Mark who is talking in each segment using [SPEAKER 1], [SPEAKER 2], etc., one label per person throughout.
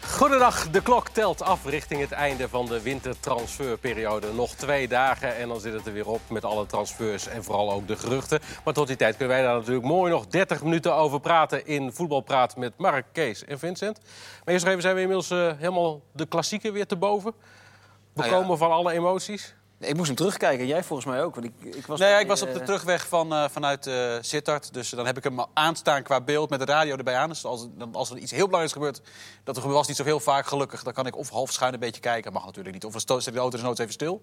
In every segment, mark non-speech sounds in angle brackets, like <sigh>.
[SPEAKER 1] Goedendag, de klok telt af richting het einde van de wintertransferperiode. Nog twee dagen en dan zit het er weer op met alle transfers en vooral ook de geruchten. Maar tot die tijd kunnen wij daar natuurlijk mooi nog 30 minuten over praten in Voetbalpraat met Mark, Kees en Vincent. Maar eerst nog even zijn we inmiddels eh, helemaal de klassieken weer te boven. We
[SPEAKER 2] Ah, ja.
[SPEAKER 1] komen van alle emoties.
[SPEAKER 3] Nee, ik moest hem terugkijken. Jij volgens mij ook. Want ik, ik was
[SPEAKER 2] Nee, ik was op de
[SPEAKER 3] eh,
[SPEAKER 2] terugweg van, eh, vanuit eh Sittard. Dus dan heb ik hem aanstaan qua beeld met de radio erbij aan. Dus als, dan, als er iets heel belangrijks gebeurt, dat er was niet zo heel vaak gelukkig. Dan kan ik of half schuin een beetje kijken. Mag natuurlijk niet. Of dan sto- zet ik de auto dus nooit even stil.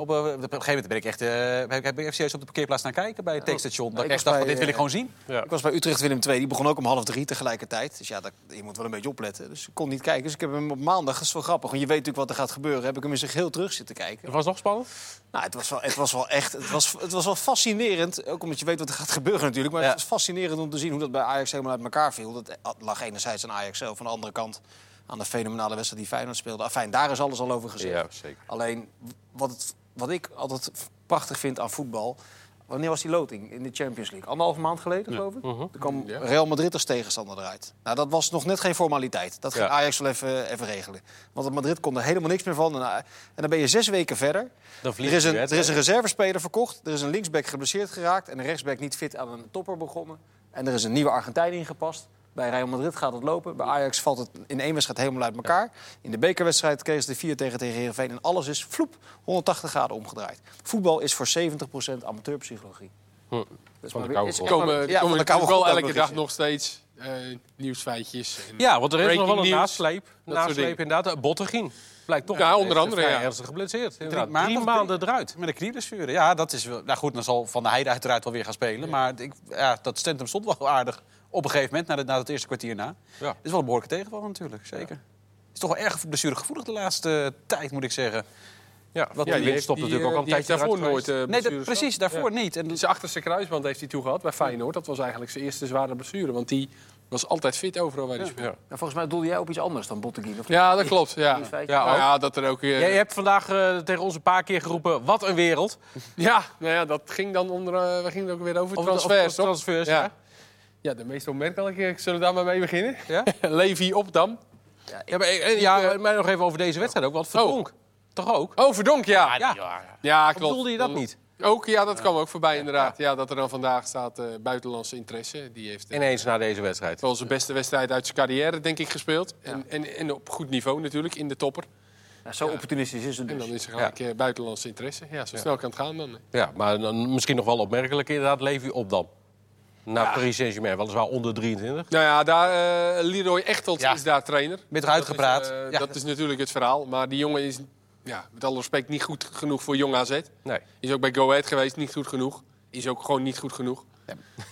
[SPEAKER 2] Op, eh, op een gegeven moment ben ik echt, eh, heb, ik- heb ik even serieus op de parkeerplaats naar kijken bij het tankstation. Dat
[SPEAKER 3] Oh, ik
[SPEAKER 2] ik echt
[SPEAKER 3] was
[SPEAKER 2] dacht, van,
[SPEAKER 3] bij,
[SPEAKER 2] dit wil
[SPEAKER 3] eh,
[SPEAKER 2] ik gewoon zien.
[SPEAKER 1] Ja.
[SPEAKER 3] Ik was bij Utrecht Willem II. Die begon ook om half drie tegelijkertijd. Dus ja, dat, je moet wel een beetje opletten. Dus ik kon niet kijken. Dus ik heb hem op maandag. Dat is wel grappig. Want je weet natuurlijk wat er gaat gebeuren. Heb ik hem in zich heel terug zitten kijken.
[SPEAKER 1] Het was nog spannend.
[SPEAKER 3] Nou, het was wel, het was wel echt. Het was, het was wel fascinerend. Ook omdat je weet wat er gaat gebeuren natuurlijk. Maar
[SPEAKER 2] Ja.
[SPEAKER 3] het was fascinerend om te zien hoe dat bij Ajax helemaal uit elkaar viel. Dat eh, lag enerzijds aan Ajax zelf. Aan de andere kant aan de fenomenale wedstrijd die Feyenoord speelde. Afijn, daar is alles al over gezegd.
[SPEAKER 1] Ja, zeker.
[SPEAKER 3] Alleen wat, het, wat ik altijd f- prachtig vind aan voetbal. Wanneer was die loting in de Champions League? Anderhalve maand geleden, geloof ik.
[SPEAKER 1] Mhm.
[SPEAKER 3] Toen kwam
[SPEAKER 1] Ja.
[SPEAKER 3] Real Madrid als tegenstander eruit. Nou, dat was nog net geen formaliteit. Dat ging
[SPEAKER 1] Ja.
[SPEAKER 3] Ajax wel even, even regelen. Want het Madrid kon er helemaal niks meer van. En, eh, en dan ben je zes weken verder.
[SPEAKER 1] Dan
[SPEAKER 3] Er
[SPEAKER 1] verlies
[SPEAKER 3] is,
[SPEAKER 1] je
[SPEAKER 3] een,
[SPEAKER 1] de
[SPEAKER 3] er
[SPEAKER 1] wedstrijd.
[SPEAKER 3] is een reservespeler verkocht. Er is een linksback geblesseerd geraakt. En een rechtsback niet fit aan een topper begonnen. En er is een nieuwe Argentijn ingepast. Bij Real Madrid gaat het lopen. Bij Ajax valt het in één wedstrijd helemaal uit elkaar. In de bekerwedstrijd kregen ze de 4 tegen tegen Heerenveen. En alles is vloep, 180 graden omgedraaid. Voetbal is voor 70% amateurpsychologie. Dus
[SPEAKER 1] Van de
[SPEAKER 3] maar weer-
[SPEAKER 1] koude
[SPEAKER 3] is-
[SPEAKER 1] grond.
[SPEAKER 3] maar-
[SPEAKER 4] komen,
[SPEAKER 3] ja, van
[SPEAKER 4] komen
[SPEAKER 3] de koude
[SPEAKER 4] natuurlijk wel
[SPEAKER 3] grond
[SPEAKER 4] elke
[SPEAKER 3] ook
[SPEAKER 4] dag
[SPEAKER 3] nog
[SPEAKER 4] nog steeds eh, nieuwsfeitjes. En-
[SPEAKER 1] Ja, want er is
[SPEAKER 4] Breaking
[SPEAKER 1] nog wel een
[SPEAKER 4] news.
[SPEAKER 1] nasleep.
[SPEAKER 4] soort
[SPEAKER 1] Nasleep
[SPEAKER 4] dingen.
[SPEAKER 1] inderdaad. Bottegien blijkt toch.
[SPEAKER 4] Ja, onder andere,
[SPEAKER 1] Vrij
[SPEAKER 4] ja.
[SPEAKER 1] ernstig geblesseerd.
[SPEAKER 2] Drie
[SPEAKER 1] inderdaad.
[SPEAKER 2] maanden,
[SPEAKER 1] Drie maanden eruit.
[SPEAKER 2] Met een knieblessure. Ja, dat is wel... Nou goed, dan zal Van der Heijden uiteraard wel weer gaan spelen. Maar ik, ja, dat stand hem stond wel aardig op een gegeven moment, na, de, na het eerste kwartier na.
[SPEAKER 1] Ja.
[SPEAKER 2] Het is wel een behoorlijke tegenval natuurlijk, zeker. Het is toch wel erg blessuregevoelig de laatste eh, tijd, moet ik zeggen.
[SPEAKER 1] Ja,
[SPEAKER 2] Wat
[SPEAKER 1] wat ja,
[SPEAKER 2] die
[SPEAKER 1] die stopt natuurlijk ook al een
[SPEAKER 4] die heeft
[SPEAKER 1] tijdje
[SPEAKER 4] daarvoor
[SPEAKER 1] eruit
[SPEAKER 4] nooit
[SPEAKER 1] geweest.
[SPEAKER 4] eh
[SPEAKER 2] nee, dat-
[SPEAKER 4] blessures
[SPEAKER 2] precies, daarvoor niet. En,
[SPEAKER 4] gehad. Zijn achterste kruisband heeft hij toe gehad bij Feyenoord. Dat was eigenlijk zijn eerste zware blessure. Want die was altijd fit overal waar hij speelde.
[SPEAKER 3] Nou, volgens mij doelde jij op iets anders dan Botteguin. Of
[SPEAKER 4] Ja, dat klopt. Ja, ja,
[SPEAKER 3] Nieuwsfeitje.
[SPEAKER 4] nou ja dat er ook... eh,
[SPEAKER 1] Jij hebt vandaag eh, tegen ons een paar keer geroepen, wat een wereld.
[SPEAKER 4] Ja, nou ja, dat ging dan onder... eh, we gingen ook weer over
[SPEAKER 1] Of-
[SPEAKER 4] transfers,
[SPEAKER 1] of-
[SPEAKER 4] toch?
[SPEAKER 1] transfers, ja.
[SPEAKER 4] ja. ja, de meest onmerkelijke. Zullen we daar maar mee beginnen?
[SPEAKER 1] Ja?
[SPEAKER 4] <laughs> Levi Opdam.
[SPEAKER 1] Ja, maar, eh, ja, maar nog even over deze wedstrijd ook, want Verdonk, toch ook?
[SPEAKER 4] Oh, Verdonk, ja. Ja, klopt.
[SPEAKER 1] Bedoelde je dat
[SPEAKER 4] Dan-
[SPEAKER 1] niet?
[SPEAKER 4] Ook, ja, dat kwam ook voorbij inderdaad. Ja, dat er dan vandaag staat eh, buitenlandse interesse. Die heeft eh,
[SPEAKER 1] Ineens na deze wedstrijd.
[SPEAKER 4] wel zijn beste wedstrijd uit zijn carrière, denk ik, gespeeld. En, en, en op goed niveau natuurlijk, in de topper.
[SPEAKER 3] Nou, zo opportunistisch is het
[SPEAKER 4] En
[SPEAKER 3] dus.
[SPEAKER 4] dan is er gelijk eh, buitenlandse interesse. Ja, zo snel kan het gaan dan. eh.
[SPEAKER 1] Ja, maar dan misschien nog wel opmerkelijk inderdaad, Levi Opdam. Naar Paris Saint-Germain, weliswaar onder 23.
[SPEAKER 4] Nou ja, daar, eh, Leroy Echtelt
[SPEAKER 2] Ja.
[SPEAKER 4] is daar trainer.
[SPEAKER 2] Met eruit gepraat.
[SPEAKER 4] Dat is, eh,
[SPEAKER 2] Ja.
[SPEAKER 4] dat is natuurlijk het verhaal. Maar die jongen is, ja, met alle respect, niet goed genoeg voor Jong AZ.
[SPEAKER 1] Nee.
[SPEAKER 4] Is ook bij Go Ahead geweest, niet goed genoeg. Is ook gewoon niet goed genoeg.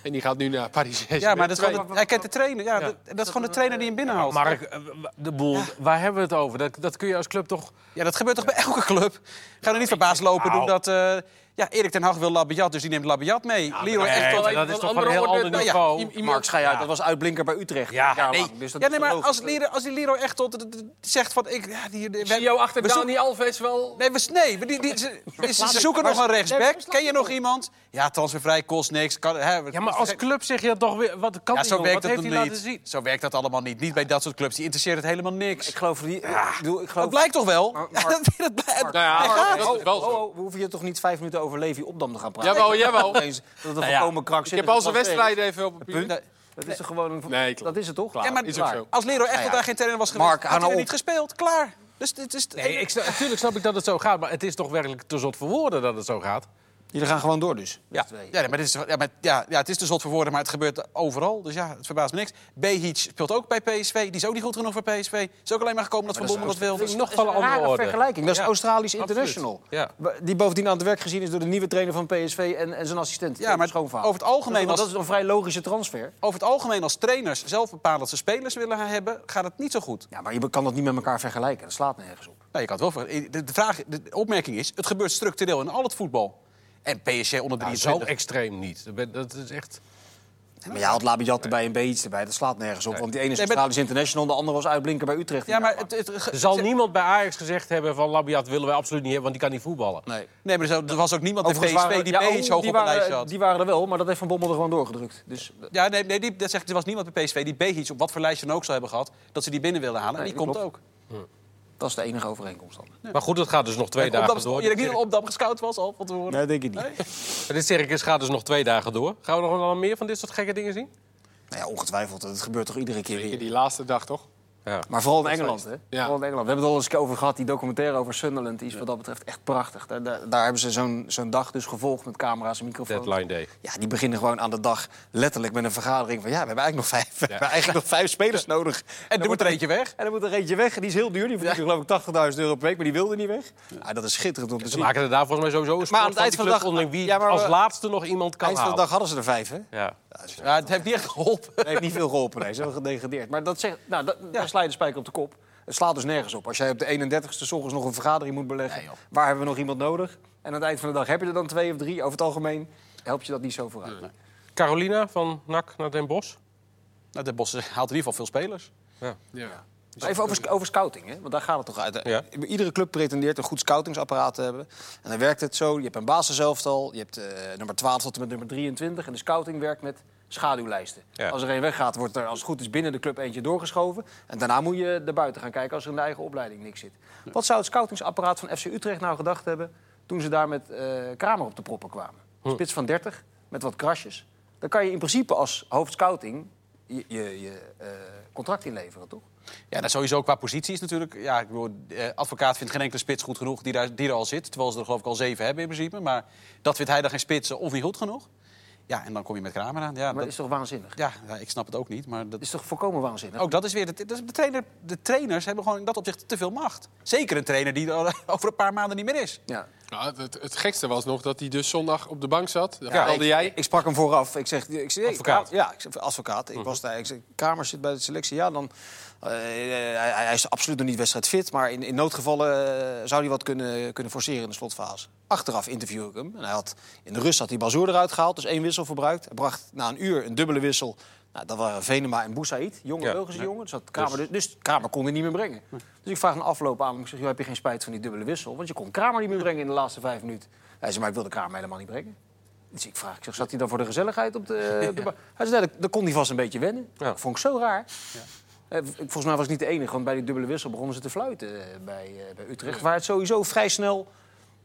[SPEAKER 4] En die gaat nu naar Paris Saint-Germain.
[SPEAKER 2] ja, maar dat is gewoon de- hij kent de trainer. Ja, Dat, dat is gewoon de trainer die hem binnenhaalt.
[SPEAKER 1] Mark, eh, w- de boel, waar hebben we het over? Dat, dat kun je als club toch...
[SPEAKER 2] Ja, dat gebeurt toch bij elke club? Ga er niet verbaasd lopen
[SPEAKER 1] Nou.
[SPEAKER 2] doen dat... eh, ja, Erik ten Hag wil Labiat, dus die neemt Labiat mee. Leo
[SPEAKER 1] Nee,
[SPEAKER 2] echt...
[SPEAKER 4] wel
[SPEAKER 1] dat
[SPEAKER 4] een
[SPEAKER 1] is
[SPEAKER 4] van
[SPEAKER 1] toch van een
[SPEAKER 4] andere
[SPEAKER 1] heel
[SPEAKER 4] orde.
[SPEAKER 1] ander
[SPEAKER 2] Nou ja,
[SPEAKER 1] niveau.
[SPEAKER 4] i-
[SPEAKER 3] Mark, schei uit. Dat was uitblinker bij Utrecht.
[SPEAKER 1] Ja.
[SPEAKER 3] Een jaar
[SPEAKER 2] Nee,
[SPEAKER 3] lang. Dus dat
[SPEAKER 2] ja,
[SPEAKER 3] is
[SPEAKER 2] nee, maar
[SPEAKER 3] logisch.
[SPEAKER 2] als, Leroy, als die Leroy echt tot zegt van... Ik, ja, die, die,
[SPEAKER 4] Zie jou achter
[SPEAKER 2] we zoeken-
[SPEAKER 4] Dani Alves wel...
[SPEAKER 2] Nee, we, nee we- die, die, ze, ze- ze
[SPEAKER 3] ik-
[SPEAKER 2] zoeken
[SPEAKER 3] maar
[SPEAKER 2] nog een
[SPEAKER 3] ze- nee,
[SPEAKER 2] rechtsback.
[SPEAKER 3] verslaat
[SPEAKER 2] Ken je
[SPEAKER 3] ik
[SPEAKER 2] nog
[SPEAKER 3] wel.
[SPEAKER 2] iemand? Ja, transfervrij kost niks. Kan, hè,
[SPEAKER 1] Ja, maar als club zeg je dat toch weer... Wat kan
[SPEAKER 2] Ja,
[SPEAKER 1] die
[SPEAKER 2] zo
[SPEAKER 1] jongen? Wat
[SPEAKER 2] werkt dat
[SPEAKER 1] heeft hij laten
[SPEAKER 2] nog niet.
[SPEAKER 1] zien?
[SPEAKER 2] Zo werkt dat allemaal niet. Niet bij dat soort clubs. Die interesseert het helemaal niks.
[SPEAKER 3] Ik geloof niet. Ik bedoel, ik
[SPEAKER 2] Dat
[SPEAKER 3] geloof
[SPEAKER 2] blijkt toch wel? <laughs>
[SPEAKER 3] Maar-
[SPEAKER 2] Ja,
[SPEAKER 3] maar-
[SPEAKER 2] dat- dat blijkt-
[SPEAKER 4] Nou ja, dat is wel
[SPEAKER 3] Oh,
[SPEAKER 4] zo.
[SPEAKER 3] oh, we hoeven hier toch niet vijf minuten over Levi Opdam te gaan praten?
[SPEAKER 4] Jawel, jawel. Nou
[SPEAKER 3] Dat is een volkomen krank.
[SPEAKER 4] Ik heb al zijn wedstrijden even op papier.
[SPEAKER 2] Nee.
[SPEAKER 3] Dat is toch gewoon een...
[SPEAKER 4] Nee, klopt.
[SPEAKER 3] dat is het toch?
[SPEAKER 2] Ja, maar
[SPEAKER 4] Is ook zo.
[SPEAKER 2] als Leroy echt
[SPEAKER 3] Nou ja.
[SPEAKER 2] daar geen trainer was geweest,
[SPEAKER 3] Mark,
[SPEAKER 2] had
[SPEAKER 3] hou nou
[SPEAKER 2] hij er
[SPEAKER 3] op.
[SPEAKER 2] niet gespeeld. Klaar. Dus dit is...
[SPEAKER 1] Nee, ik, sna- natuurlijk snap ik dat het zo gaat, maar het is toch werkelijk te zot voor woorden dat het zo gaat.
[SPEAKER 3] Jullie gaan gewoon door dus.
[SPEAKER 2] Ja, ja, maar dit is, ja, maar, ja, ja, het is te zot voor woorden, maar het gebeurt overal. Dus ja, het verbaast me niks. Behic speelt ook bij PSV. Die is ook niet goed genoeg voor PSV. Is ook alleen maar gekomen dat Van Bommel dat wil.
[SPEAKER 1] dat is nog
[SPEAKER 3] Dat
[SPEAKER 1] van
[SPEAKER 3] is
[SPEAKER 1] een
[SPEAKER 3] een
[SPEAKER 1] andere
[SPEAKER 3] rare
[SPEAKER 1] orde.
[SPEAKER 3] vergelijking. Dat is
[SPEAKER 1] Ja,
[SPEAKER 3] Australisch
[SPEAKER 1] absoluut.
[SPEAKER 3] international.
[SPEAKER 1] Ja.
[SPEAKER 3] Die bovendien aan het werk gezien is door de nieuwe trainer van PSV en, en zijn assistent.
[SPEAKER 2] Ja, maar
[SPEAKER 3] schoonvader.
[SPEAKER 2] over het
[SPEAKER 3] Dat is-
[SPEAKER 2] algemeen...
[SPEAKER 3] want dat
[SPEAKER 2] Als,
[SPEAKER 3] is een vrij logische transfer.
[SPEAKER 2] over het algemeen als trainers zelf bepalen dat ze spelers willen hebben, gaat het niet zo goed.
[SPEAKER 3] Ja, maar je kan dat niet met elkaar vergelijken. Dat slaat nergens op.
[SPEAKER 2] Nou, je kan het wel ver- de, de vraag, de opmerking is, het gebeurt structureel in al het voetbal. En PSV onder
[SPEAKER 1] Nou, zo
[SPEAKER 2] 23.
[SPEAKER 1] extreem niet. Dat ben- Dat is echt...
[SPEAKER 3] Maar ja, had Labiat erbij en Beets erbij. Dat slaat nergens op. Want die ene is
[SPEAKER 2] Nee, maar-
[SPEAKER 3] Australisch international, de andere was uitblinker bij Utrecht.
[SPEAKER 2] Ja, maar het, het, ge-
[SPEAKER 1] Er zal niemand bij Ajax gezegd hebben van Labiat willen wij absoluut niet hebben, want die kan niet voetballen.
[SPEAKER 3] Nee.
[SPEAKER 2] nee, maar er zou- er was ook niemand bij
[SPEAKER 3] Overigens
[SPEAKER 2] PSV die
[SPEAKER 3] ja, oh,
[SPEAKER 2] PSV hoog
[SPEAKER 3] die
[SPEAKER 2] op een lijstje
[SPEAKER 3] waren,
[SPEAKER 2] had.
[SPEAKER 3] die waren er wel, maar dat heeft Van Bommel er gewoon doorgedrukt. Dus
[SPEAKER 2] Ja, nee, nee die, dat zegt, er was niemand bij PSV die Behic op wat voor lijstje dan ook zou hebben gehad... dat ze die binnen wilden halen. en
[SPEAKER 3] Nee,
[SPEAKER 2] die komt
[SPEAKER 3] dat
[SPEAKER 2] ook.
[SPEAKER 3] dat is de enige overeenkomst dan.
[SPEAKER 1] Maar goed, het gaat dus nog twee
[SPEAKER 2] En
[SPEAKER 1] dagen
[SPEAKER 2] Opdam-
[SPEAKER 1] door.
[SPEAKER 2] Je denkt niet
[SPEAKER 1] Dit
[SPEAKER 2] dat Opdam gescout was al van tevoren?
[SPEAKER 3] Nee, denk ik niet.
[SPEAKER 1] cir- Dit circus gaat dus nog twee dagen door. Gaan we nog wel meer van dit soort gekke dingen zien?
[SPEAKER 3] Nou ja, ongetwijfeld. Dat gebeurt toch iedere keer weer.
[SPEAKER 4] Die laatste dag toch?
[SPEAKER 1] Ja.
[SPEAKER 3] Maar vooral in Engeland, hè?
[SPEAKER 4] Ja.
[SPEAKER 3] Vooral in Engeland. We hebben het al eens een keer over gehad, die documentaire over Sunderland. Die is wat dat betreft echt prachtig. Daar, daar, daar hebben ze zo'n zo'n dag dus gevolgd met camera's en microfoons.
[SPEAKER 1] Deadline day.
[SPEAKER 3] Ja, die beginnen gewoon aan de dag letterlijk met een vergadering van... ja, we hebben eigenlijk nog vijf, we hebben eigenlijk nog vijf spelers nodig.
[SPEAKER 2] En doe
[SPEAKER 3] wordt
[SPEAKER 2] er eentje weg.
[SPEAKER 3] En dan moet er eentje weg. En die is heel duur. Die verdient geloof ik 80.000 euro per week. Maar die wilde niet weg. Ah, dat is schitterend om te
[SPEAKER 1] Ze
[SPEAKER 3] zien.
[SPEAKER 1] maken er daar volgens mij sowieso een sport
[SPEAKER 3] Maar aan
[SPEAKER 1] van
[SPEAKER 3] het eind
[SPEAKER 1] die
[SPEAKER 3] van de dag-
[SPEAKER 1] clubs onderling wie
[SPEAKER 3] Ja, maar we-
[SPEAKER 1] als laatste nog iemand kan
[SPEAKER 3] Eind van de
[SPEAKER 1] halen.
[SPEAKER 3] dag hadden ze er vijf, hè?
[SPEAKER 1] Ja.
[SPEAKER 2] Ja, het heeft niet echt geholpen. <laughs>
[SPEAKER 3] Nee, heeft niet veel geholpen. Nee, ze hebben gedegradeerd. Maar dat zegt, nou, dat, daar sla je de spijker op de kop. Het slaat dus nergens op. Als jij op de 31ste 's ochtends nog een vergadering moet beleggen... waar hebben we nog iemand nodig? En aan het eind van de dag heb je er dan twee of drie. Over het algemeen helpt je dat niet zo vooruit.
[SPEAKER 1] Carolina van NAC naar Den Bosch.
[SPEAKER 2] Nou, de Bos haalt in ieder geval veel spelers.
[SPEAKER 4] Ja.
[SPEAKER 3] Maar Dus even over, over scouting, hè? want daar gaat het toch uit.
[SPEAKER 1] Ja.
[SPEAKER 3] Iedere club pretendeert een goed scoutingsapparaat te hebben. En dan werkt het zo. Je hebt een basiselftal, je hebt eh, nummer 12 tot en met nummer 23. En de scouting werkt met schaduwlijsten.
[SPEAKER 1] Ja.
[SPEAKER 3] Als er één weggaat, wordt er als het goed is binnen de club eentje doorgeschoven. En daarna moet je erbuiten gaan kijken als er in de eigen opleiding niks zit. Wat zou het scoutingsapparaat van FC Utrecht nou gedacht hebben... toen ze daar met eh, Kramer op de proppen kwamen?
[SPEAKER 1] Hm.
[SPEAKER 3] Spits van 30, met wat krasjes. Dan kan je in principe als hoofdscouting je, je, je eh, contract inleveren, toch?
[SPEAKER 2] Ja, dat sowieso qua positie is natuurlijk... Ja, ik bedoel, eh, advocaat vindt geen enkele spits goed genoeg die, daar, die er al zit. Terwijl ze er geloof ik al zeven hebben in principe. Maar dat vindt hij dan geen spits eh, of niet goed genoeg. Ja, en dan kom je met Kramer aan. Ja,
[SPEAKER 3] Maar dat
[SPEAKER 2] dat,
[SPEAKER 3] is toch waanzinnig?
[SPEAKER 2] ja, ja, ik snap het ook niet. Maar dat,
[SPEAKER 3] Dat is toch volkomen waanzinnig?
[SPEAKER 2] ook dat is weer... Dat, dat is de, trainer, de trainers hebben gewoon in dat opzicht te veel macht. Zeker een trainer die er <laughs> over een paar maanden niet meer is.
[SPEAKER 3] Ja.
[SPEAKER 4] Nou, het, het gekste was nog dat hij dus zondag op de bank zat. Dat
[SPEAKER 3] ik,
[SPEAKER 4] vertelde jij.
[SPEAKER 3] ik sprak hem vooraf. Ik zeg, ik zeg
[SPEAKER 1] Advocaat.
[SPEAKER 3] advocaat. Ja, ik zeg, advocaat. Ik was daar. Ik zeg, Kamer zit bij de selectie. Ja, dan. eh, hij, hij is absoluut nog niet wedstrijdfit. Maar in, in noodgevallen eh, zou hij wat kunnen, kunnen forceren in de slotfase. Achteraf interview ik hem. En hij had, in de rust had hij Bazoer eruit gehaald. Dus één wissel verbruikt. Hij bracht na een uur een dubbele wissel. Nou, dat waren Venema en Boussaïd. Jonge
[SPEAKER 1] Ja.
[SPEAKER 3] Belgische jongen. Dus, dat Kramer, dus, dus Kramer kon hij niet meer brengen. Dus ik vraag een afloop aan hem. Ik zeg, joh, heb je geen spijt van die dubbele wissel? Want je kon Kramer niet meer brengen in de laatste vijf minuten. Hij zei, maar ik wilde Kramer helemaal niet brengen. Dus ik vraag, ik zeg, zat hij dan voor de gezelligheid op de,
[SPEAKER 1] <laughs>
[SPEAKER 3] op de bar? Hij zei, nee, dat- dat kon hij vast een beetje wennen.
[SPEAKER 1] Ja.
[SPEAKER 3] Dat vond ik zo raar. Eh, v- volgens mij was ik niet de enige, want bij die dubbele wissel begonnen ze te fluiten eh, bij, eh, bij Utrecht. Waar het sowieso vrij snel